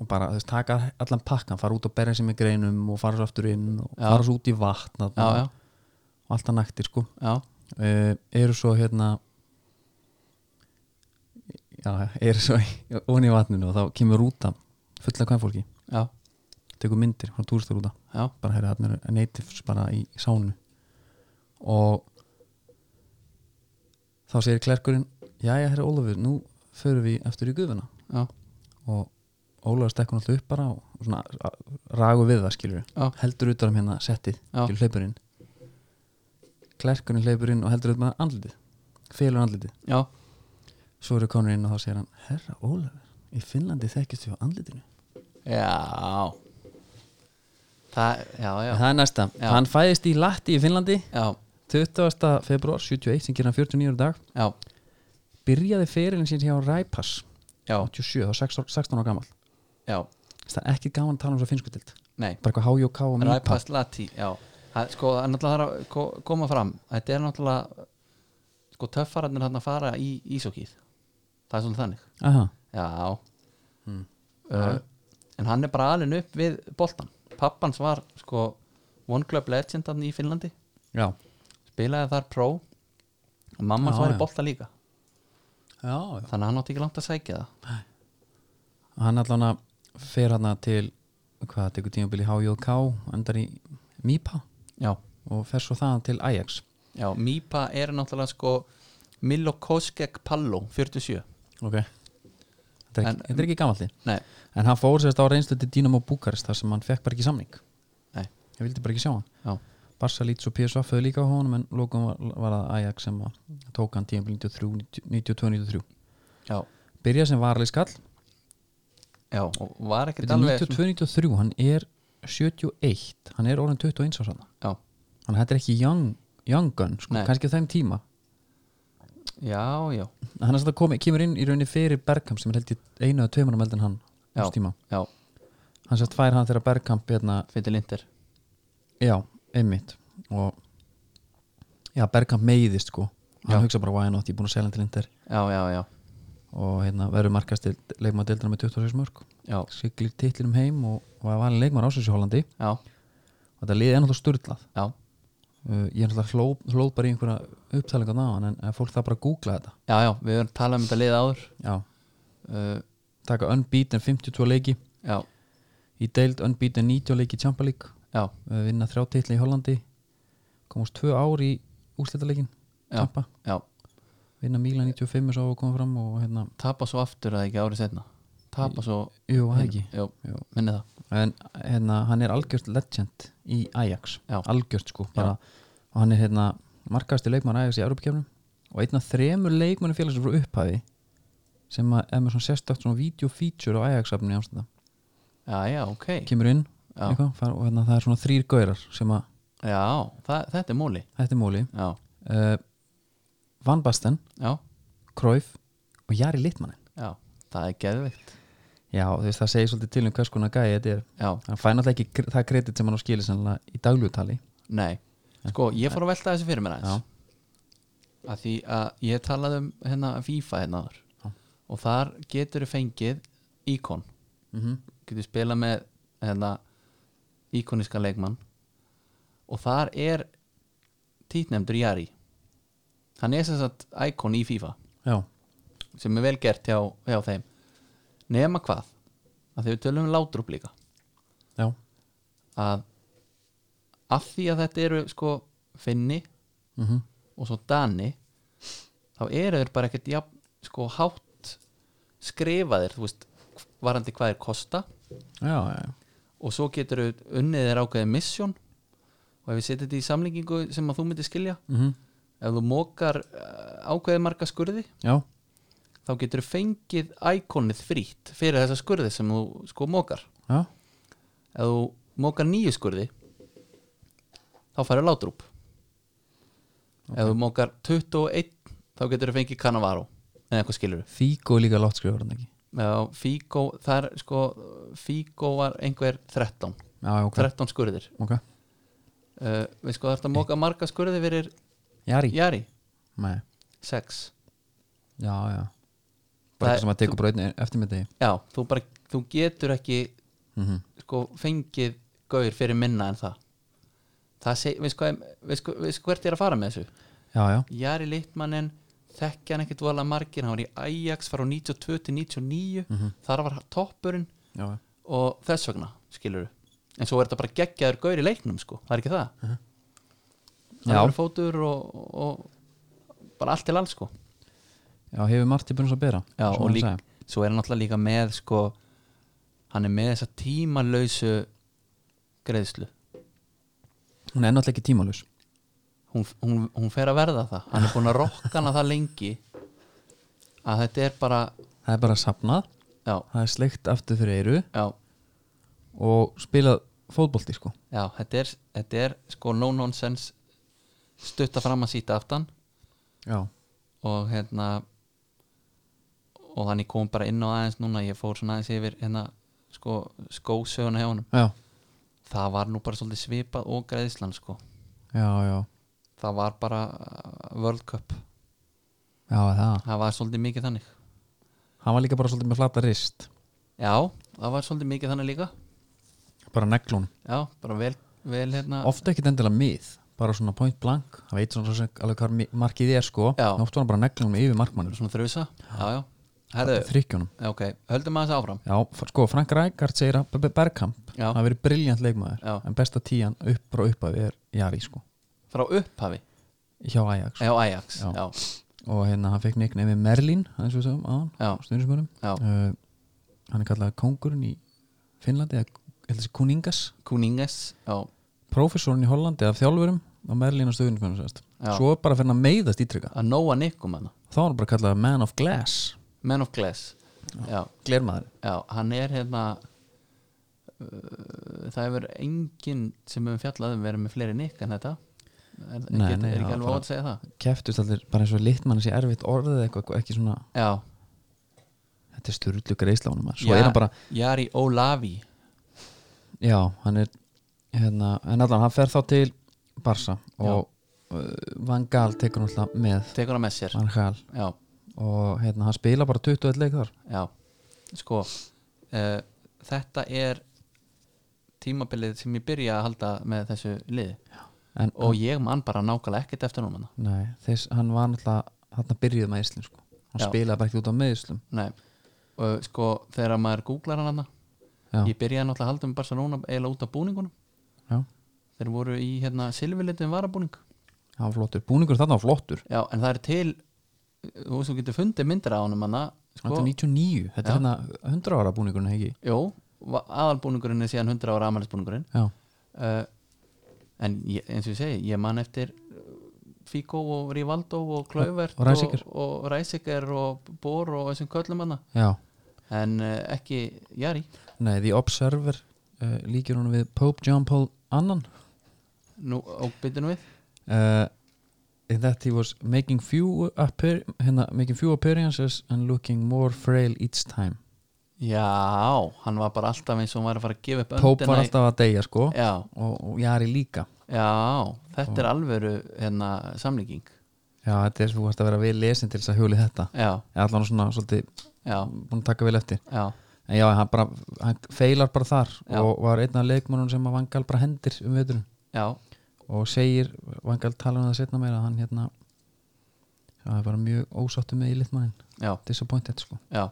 og bara þess taka allan pakkan fara út og berja sér með greinum og fara svo aftur inn og Já. fara svo út í vatn já, já, og alltaf naktir sko já, uh, eru svo hérna já, eru svo í- ofan í vatninu og þá kemur rúta fulla af kvænfólki, já, tekur myndir frá túristarúta já, bara heyrði þarna eru natives bara í sánu og þá segir klerkurinn jæja herra Ólafur, nú förum við eftir í gufuna já, og Ólafur stekkur alltaf upp bara og svona ragu við það skilur Já. heldur út um hérna settið Já. skilur hleypur inn klerkurinn hleypur inn og heldur út með andlitið félur andlitið, já, svo eru konur inn og þá segir hann herra Ólafur, í Finnlandi þekkist við á andlitinu já það, já, já það er næsta, Já. hann fæðist í Latti í Finnlandi já, 20. februar 71 sem gerir hann 49 dag já, byrjaði ferilin sín hjá Ræpass já, 87, þá var 16 16 ára gammal já, það er ekki gaman að tala um svo finnsku dild nei bara eitthvað hájóká og mýpa Ræpast lati, já Það- sko, það er náttúrulega þarf að ko- koma fram þetta er náttúrulega sko, töffararnir hann að fara í ísókið það er svolítið þannig Aha, já uh, en hann er bara alveg upp við boltan pappans var sko One Club Legend hann í Finnlandi já. spilaði þar pro og mammas Já, var í já. bolta líka já þannig að hann átti ekki langt að sækja það hann allan að fer hana til hvað, tekur tímabili HJK endar í MIPA já, og fer svo það til Ajax já, Mipa er náttúrulega sko Milokoskek Pallo 47 ok þetta er ekki, En- þetta er ekki gamalli Nei, en hann fór sérst á reynslu til Dynamo Búkarest þar sem hann fekk bara ekki samning Nei. ég vildi bara ekki sjá hann já, Barca Leeds og PSV föðu líka á honum en lókum var, var að Ajax sem að tók hann tímabili 92-93 já, byrja sem varalið skall já og var ekkert alveg 92-93 hann er 71 hann er orðin 21 árs hann já, þannig að þetta er ekki young, young gun sko, Nei. kannski á þeim tíma já, já, hann er samt að komi, kemur inn í rauninni fyrir Bergkamp sem er held í einu eða tveimur um eldin hann á Já. þessu tíma. já, hann sérst fær hann þegar Bergkamp hérna, fyrir lindir já, einmitt og já, Bergkamp meiðist sko hann Já. hugsa bara why not, ég er búin að selja hann til Inter já, já, já, og hérna verður markast til leikmaður deildina með 26 mörg já, siglir titlinum heim og, og var valin leikmaður ásins í Hollandi já, og þetta liði ennáttúrulega sturlað já, uh, ég er náttúrulega hló- hlóð bara í einhverja upptalinga náðan en, en fólk það bara að googla þetta já, já, við höfum talað um þetta liða áður já, uh, Eh, taka unbeaten 52 leiki já, í deild unbeaten 90 leiki í Champions League já, uh, vinna þrjá titli í Hollandi komast tvö ár í úrslitaleikin Já. Champa, já vinna Mílan 95 og svo að koma fram og hérna, tapa svo aftur að ekki árið setna tapa svo jú, það ekki Jú, Jú. minni það en hérna, hann er algjört legend í Ajax, Já. algjört sko bara, og hann er hérna markaðasti leikmann Ajax í Europakefnum og einn af þremur leikmannum félagsins frá upphafi sem að er með svona sérstakt svona video feature á Ajax-afnum í ástæða Já, já, ok kemur inn Já. eitthvað, far, og hérna, það er svona þrýr gaurar sem að Já, það, þetta er múli þetta er móli Já, uh, Van Basten, já, Cruyff og Jari Littmannin já, það er geðvikt já þú veist það segir svolítið til um hvers konar gæði þetta er Já, hann fær náttúrulega ekki kre- það kredit sem hann á skilið sannlega í daglutali nei Sko, ég fór að velta þessu fyrir mér Já. aðeins að Því að ég talaði um hérna FIFA hérna áður Já. og þar getur fengið íkon mm -hmm. getur spilað með hérna íkoniska leikmann og þar er títnefndur Jari Hann er sem sagt íkon í FIFA já, sem er vel gert hjá, hjá þeim nema hvað að þegar við tölum um látrúp líka já, að af því að þetta eru sko finni mm og svo dani þá eru þeir bara ekkert jafn, sko hátt skrifaðir þú veist varandi hvað þeir kosta já, já, og svo getur þau unnið þeir ákveðið misjón og ef við setjum þetta í samlingingu sem að þú myndir skilja mm ef þú mókar uh, ákveðið marga skurði já, þá getur þau fengið íkonið frýtt fyrir þessa skurði sem þú sko mókar já, ef þú mókar nýju skurði þá færðu látrúp ef þú mókar 21 þá getur þú fengið Cannavaro eða eitthvað skilur Figo líka látt skrifur hann ekki við Figo, þar sko Figo var einhver 13 já, já, ok, 13 skurðir ok uh, við sko þarfum að móka marga skurði fyrir Jari, já, Jari, Nei. 6 já, já Það- bara eitthvað sem að tekur bara einn eftirmiðdegi já, þú bara, þú getur ekki mm -hmm. sko fengið gaur fyrir minna en það það seg, við sko, við sko, við sko hvert ég er að fara með þessu já, já, Jari Littmannen þekkja hann ekkert voðalega margir hann var í Ajax, var á 92 til 99 þar var toppurinn já, já. og þess vegna, skilur en svo er þetta bara geggjaður gaur í leiknum sko. það er ekki það uh Já. það er fótur og, og bara allt til alls sko. já hefur Marti búin að bera Já, svo og hann lík, sagði. svo er hann alltaf líka með sko, hann er með þessa tímalausu greiðslu hún er náttúrulega ekki tímalus hún, hún, hún fer að verða það hann er búin að rokka hana það lengi að þetta er bara það er bara safnað, já, það er sleikt aftur fyrir eyru já og spilað fótbolti sko Já, þetta er, þetta er sko no nonsense stutta fram að síta aftan já, og hérna og þannig kom bara inn á aðeins núna ég fór svona aðeins yfir hérna sko skósöguna hjá honum já, það var nú bara svolítið svipað og greiðslan sko já, já, það var bara uh, World Cup já það. það var svolítið mikið þannig hann var líka bara svolítið með flata rist já, það var svolítið mikið þannig líka bara neglun, já, bara vel, vel hérna ofta ekkit endilega mið bara svona point blank, hann veit svona sem- alveg hvað mi- markið er sko, Já. En oft var hann bara neglun með yfir markmannur svona þrjusa já, já, Herðu, þrykkjónum ok, höldum að þessi áfram Já, f- sko, Frank Rækart segir að B- B- Bergkamp Já. hafi verið briljant leikmaður Já. en besta tíjan upp frá uppafi er Jari sko, frá upphafi hjá Ajax á Ajax Já. Já. og hérna hann fekk neiknið með Merlin eins og sem aðan, Já. stundismörum Já. uh, hann er kallað kongurinn í Finnlandi eða held þessi kuningas Kuninges Já. prófessorinn í Hollandi af þjálfurum og Merlin og stundismörum sérst Já. svo bara fyrir hann að meiðast ítrykka að nóa nikkum hann þá er hann bara kallað man of glass Man of Glass Já. glermaður Já, hann er hérna uh, það hefur enginn sem hefur fjallað um verið með fleiri nikk en þetta er, er, Nei, ekki- nei, er ekki já, alveg bara- ótt að segja það keftust allir bara eins og litmann sé erfitt orðið eða eitthvað ekki svona Já, þetta er styrlu greiðslánum svo Já. er hann bara Jari Olavi Já, hann er hérna, en allan, hann fer þá til Barsa og uh, Van Gaal tekur hann alltaf með tekur hann með sér Van Gaal Já, og hérna, hann spila bara 21 leik þar já, sko uh, þetta er tímabilið sem ég byrja að halda með þessu liði en, og ég man bara nákvæmlega ekkert eftir núna nei, þess, hann var alltaf hann byrjuð með Íslum sko. hann Já. spilaði bara ekki út á meðislum Nei, og sko þegar maður googlar hann hann Já, ég byrjaði náttúrulega að halda um Barcelona eiginlega út af búningunum já, þeir voru í hérna silfilitum varabúning hann var flottur búningur þarna var flottur, já, en það er til þú veist þú getur fundið myndir á honum hann þetta sko, er 99 þetta Já. er hérna 100 ára búningurinn ekki jú, va- aðalbúningurinn er síðan 100 ára amælisbúningurinn já, uh, en ég, eins og ég segi ég man eftir eh, Figo og Rivaldo og Klauvert Og Ræsinger. og, og Ræsiker og Bor og þessum köllum hann já, en uh, ekki Jari nei, The Observer uh, líkir hann við Pope John Paul annan nú ábytinu við uh, in that he was making few appear, hérna, making few appearances and looking more frail each time já, hann var bara alltaf eins og hann var að fara að gefa upp Pope var öndina í- alltaf að deyja sko já, og, og Jari líka Já, þetta er alvöru hérna, samlíking já þetta er þú varst að vera vel lesin til þess að hjóli þetta Já, eða allan svona svolítið já, búin að taka vel eftir já, en já hann bara hann feilar bara þar Já. og var einn af leikmönunum sem að vangal bara hendir um veturinn já og segir vangal tala um það setna meira að hann hérna það er bara mjög ósáttu með í litmannin Já, disappointed sko já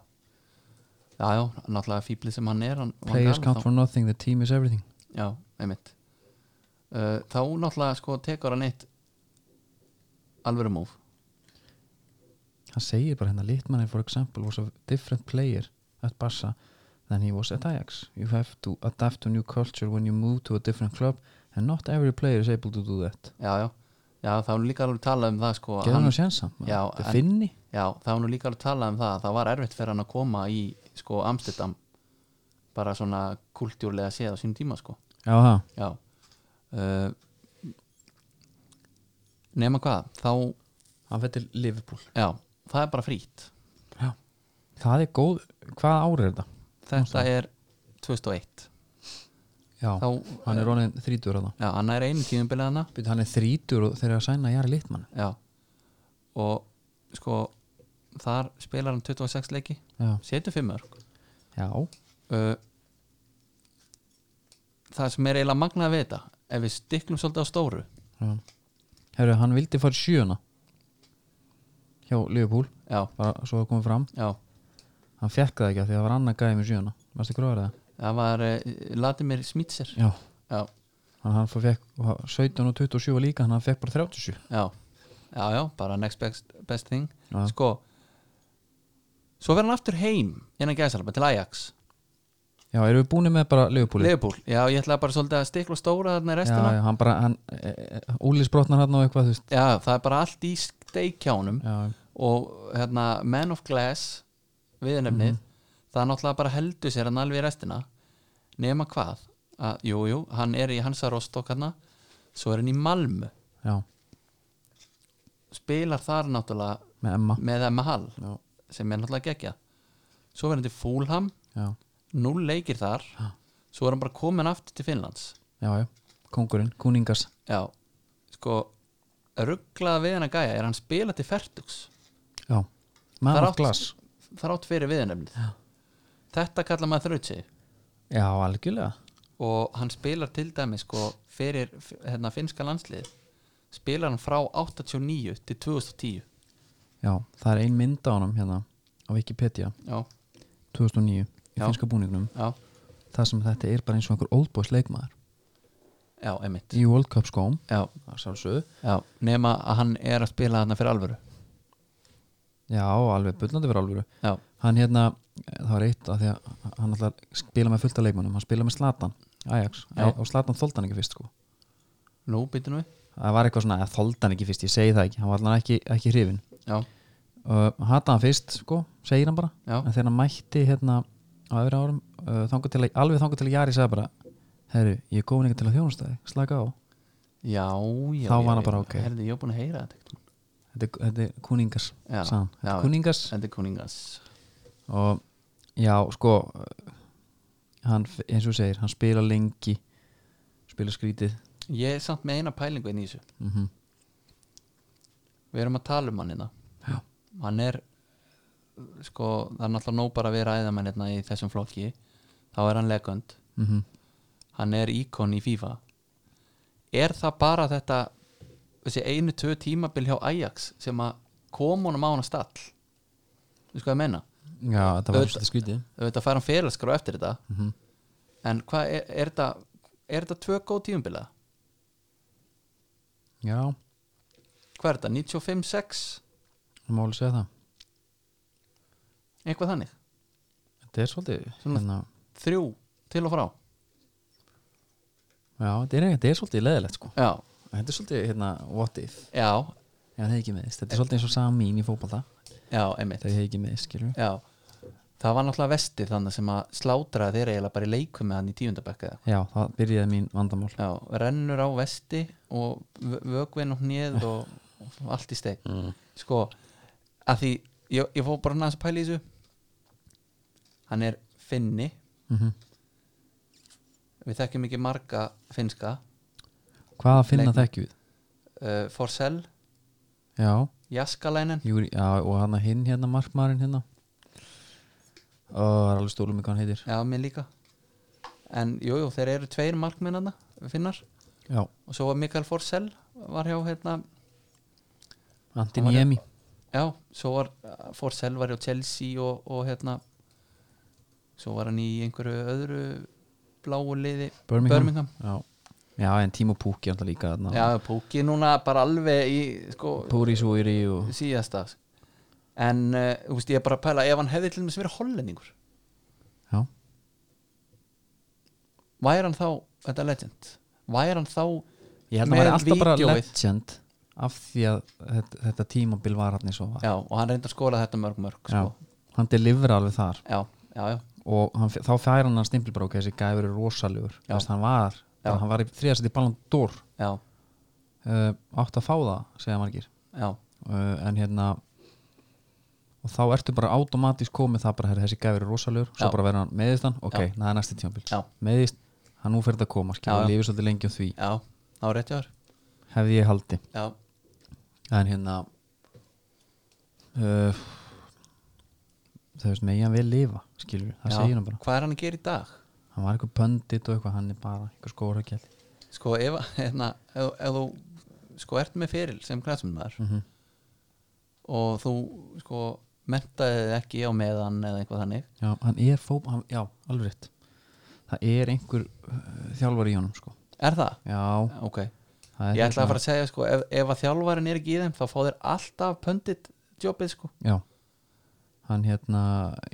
Já, já, náttúrulega fíblið sem hann er hann, hann players gal- count for nothing, the team is everything þá- Já, einmitt uh, Þá náttúrulega sko tekur hann eitt alvöru múf hann segir bara hérna litmannin for example was a different player at Barca than he was at Ajax you have to adapt to new culture when you move to a different club and not every player is able to do that Já, já, já, þá er nú líka alveg talað um það sko að getur hann að sjensa Já, það en- finni Já, þá er nú líka alveg talað um það að það var erfitt fyrir hann að koma í sko Amsterdam bara svona kultúrlega séð á sínum tíma sko já, ha. Já uh, Nefna hvað Þá, hann fyrir Liverpool já, það er bara frýtt já. það er góð, hvaða ári er þetta? Þetta er 2001 já, Þá, hann er ronin þrítur að það Já, hann er einu tíðumbilið hana Býtu, hann er þrítur og þeir eru að sæna Jari Littmann Já Og sko Þar spilar hann 26 leiki já, Setur fimm mörg já, uh, Það sem er eiginlega magnað við þetta Ef við stiklum svolítið á stóru já. Heru, hann vildi fara í sjöuna hjá Liverpool Já, bara svo að koma fram já hann fekk það ekki af því að það var annað gæði með sjöuna varstu gróðar eða? Það var uh, Latimir Smitsir já Já, hann, hann fór- fekk og hann- 17 og 27 var líka þannig að hann fekk bara 37 já, já, já, bara next best, best thing Já. sko svo verður hann aftur heim innan gæðsalaba til Ajax já, erum við búin með bara Liverpool Leifbúl, já, ég ætla bara svolítið að stikla og stóra þarna í já, restina já, já, hann bara hann, e, e, Úli sprotnar hann og eitthvað þú veist það er bara allt í steikjánum já, og hérna Man of Glass viðnefnið, það er náttúrulega bara heldur sér hann alveg í restina nema hvað, að, jú, jú, hann er í Hansa Rostock hérna svo er hann í Malmö, já, spilar þar náttúrulega með Emma með MHL já, sem er náttúrulega gegja svo verður hann til Fúlham já, núl leikir þar svo er hann bara komin aftur til Finnlands já, já. kongurinn, kuningas já, sko rugglaða við hann að gæja er hann spila til Fertugs já, Það man er of átt- glass þrátt fyrir viðanemnið þetta kallar maður þrautsi já, algjörlega og hann spilar til dæmi sko fyrir f- hérna, finnska landslið spilar hann frá 89 til 2010 já, það er ein mynd á honum hérna á Wikipedia já, 2009 í Já. finska búningnum já, það sem þetta er bara eins og einhver oldboys leikmaður já, einmitt í World Cup skóm já, það er sjálfsögðu já, nema að hann er að spila þarna fyrir alvöru já, alveg bullandi fyrir alvöru já, hann hérna, það var eitt að því að hann alltaf spila með fullta leikmannum hann spila með Slatan, Ajax Já. og Slatan þoldi hann ekki fyrst sko nú býtum við það var eitthvað svona, að þoldi hann ekki fyrst, ég segi það ekki hann var alltaf ekki, ekki hrifin já, uh, hata hann fyrst sko, segir hann bara Já. en þegar hann mætti hérna á öðru árum uh, þangað til að, alveg þangað til að Jari sagði bara herru, ég er komin eitthvað til að þjónustæði slaka á, já, já Þá já, var hann já, bara, ok. herði, ég var búin að heyra þetta einhvern tímann. þetta, er- þetta er kuningas Já. sagði hann. þetta Já, er kuningas þetta er kuningas og já, sko uh, hann, f- eins og þú segir, hann spila lengi spila skrítið ég er samt með eina pælingu inn í þessu mm við erum að tala um hann hérna Já. hann er sko, það er náttúrulega nóg bara að vera æðamenn hérna í þessum flokki þá er hann legönd, mhm. hann er íkon í FIFA er það bara þetta þessi einu, tvö tímabil hjá Ajax sem að kom honum á hann að stall við sko að menna já, þetta var Auðvitað- svolítið skrítið auðvitað fær hann félagskrá eftir þetta Mhm. en hvað er, er þetta er þetta tvö góð tímabila? já, hvað er þetta, 95-6 það má alveg segja það eitthvað þannig, þetta er svolítið Svona- hérna, þrjú til og frá já, þetta er, þetta er svolítið leðilegt sko já, þetta er svolítið hérna, what if já, Já, það er ekki meðist, þetta er svolítið eins og Samín í fótballa já, einmitt Það er ekki meðist, skilur Já, það var náttúrulega vestið þannig sem að slátraði þeir eiginlega bara í leikum með hann í tíundabekka eða Já, það byrjaði mín vandamál Já, rennur á vesti og vö- vökvinn og hnið og og allt í steg Mm. Sko, að því ég, ég fór bara næs að pæla í þessu Hann er finni mm Við þekkjum ekki marga finska Hvaða finna Leikmenn. þekkju við? uh, Forsell, Já, Jaskalænen Júri, já, og hann hinn hérna, markmaðurinn hérna Ó, það er alveg stólum í hvað hann heitir Já, mér líka En jú, jú, þeir eru tveir markmennana finnar Já, og svo var Mikael Forsell var hjá hérna Antin Hann var- Jemi Já, svo var Forsell var hjá Chelsea og, og hérna svo var hann í einhverju öðru bláu liði Birmingham. Birmingham. Já. já, en Timo Pukki er alltaf líka þarna Já, Púki núna bara alveg í sko, Púri Súri og síðasta en eh, þú veist ég er bara að pæla ef hann hefði til þess að vera hollendingur Já, væri hann þá, þetta er legend væri hann þá ég held Með að hann var alltaf bara vídeóið. legend af því að þetta, þetta tímabil var hann eins og var já, og hann reyndi að skora þetta mörg mörg já. sko. Hann delivera alveg þar já, já, já, og hann, þá fær hann að stimpilbróka þessi gæfur er rosalegur Já. Þess, hann var, Já. hann var í þriðasett í Ballon d'Or já, uh, átt að fá það, segja margir já, uh, en hérna og þá ertu bara automatist komið það bara herri, þessi gæfur er rosalegur, svo Já. bara verður hann meðist hann ok, það er næsti tímabil, Já. meðist hann nú fer þetta að koma, Já, skilja, já. lifið svolítið lengi á því já þá er rétt hjá þér hefði ég haldi, já, en hérna uh, það veist, megi hann vel lifa skilur, það já. segir hann bara hvað er hann að gera í dag? hann var eitthvað pöndit og eitthvað, hann er bara eitthvað skórakjall sko ef, hérna, ef, ef þú sko ert með feril sem knæsmennmaður Mhm. og þú sko mentaði þig ekki á meðan eða eitthvað þannig Já, hann er fóp, hann, já, alveg rétt Það er einhver uh, þjálfar í honum sko. er það? Já, ok, það er ég ætla hérna- að fara að segja sko ef, ef að þjálfarin er ekki í þeim þá fá þér alltaf pöndit jobbið sko Já, hann hérna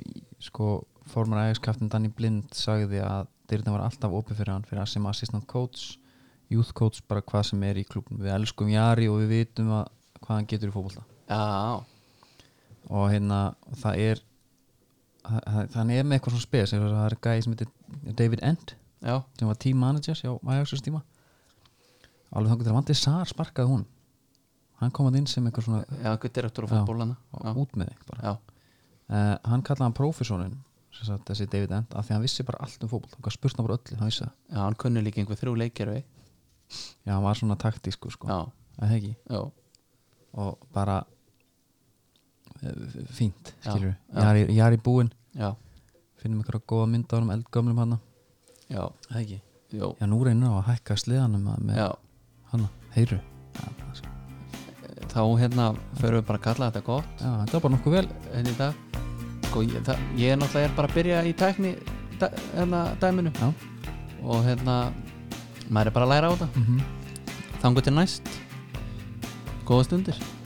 í- sko, formar ægiskaftin Danny Blind sagði að dyrna var alltaf opið fyrir hann fyrir að sem assistant coach youth coach, bara hvað sem er í klubnum við elskum Jari og við vitum að hvað hann getur í fótbolta já, og hérna, það er það- það- hann er með eitthvað svona spes eins og það er gæði sem heitir David End já, sem var team manager hjá Ajaxus tíma alveg þangur til að vandi Sar sparkaði hún hann kom að inn sem einhver svona já, einhver direktur á Já. fótbólana já, út með þig bara já, uh, hann kallaði hann prófessonin sagt, þessi David End af því hann vissi bara allt um fótboll hann gat spurt hann bara öllu, hann vissi það já, hann kunni líka einhver þrjú leikir við já, hann var svona taktísku sko, já, að það ekki já, og bara uh, fínt, Já, skilur já. við ég er í búinn, já, finnum einhverja góða mynd á hann eldgömlum hann, já, það ekki já, já, nú reynir hann að hækka sliðanum að- með já. hann, heyru já, bara- þá hérna förum við bara að kalla þetta gott já, þetta var bara nokkuð vel hérna í dag sko, ég, það, ég er náttúrulega er bara að byrja í tækni dæ, hérna, dæminu Já. og hérna Mhm. maður er bara að læra á þetta mm þangu til næst góða stundir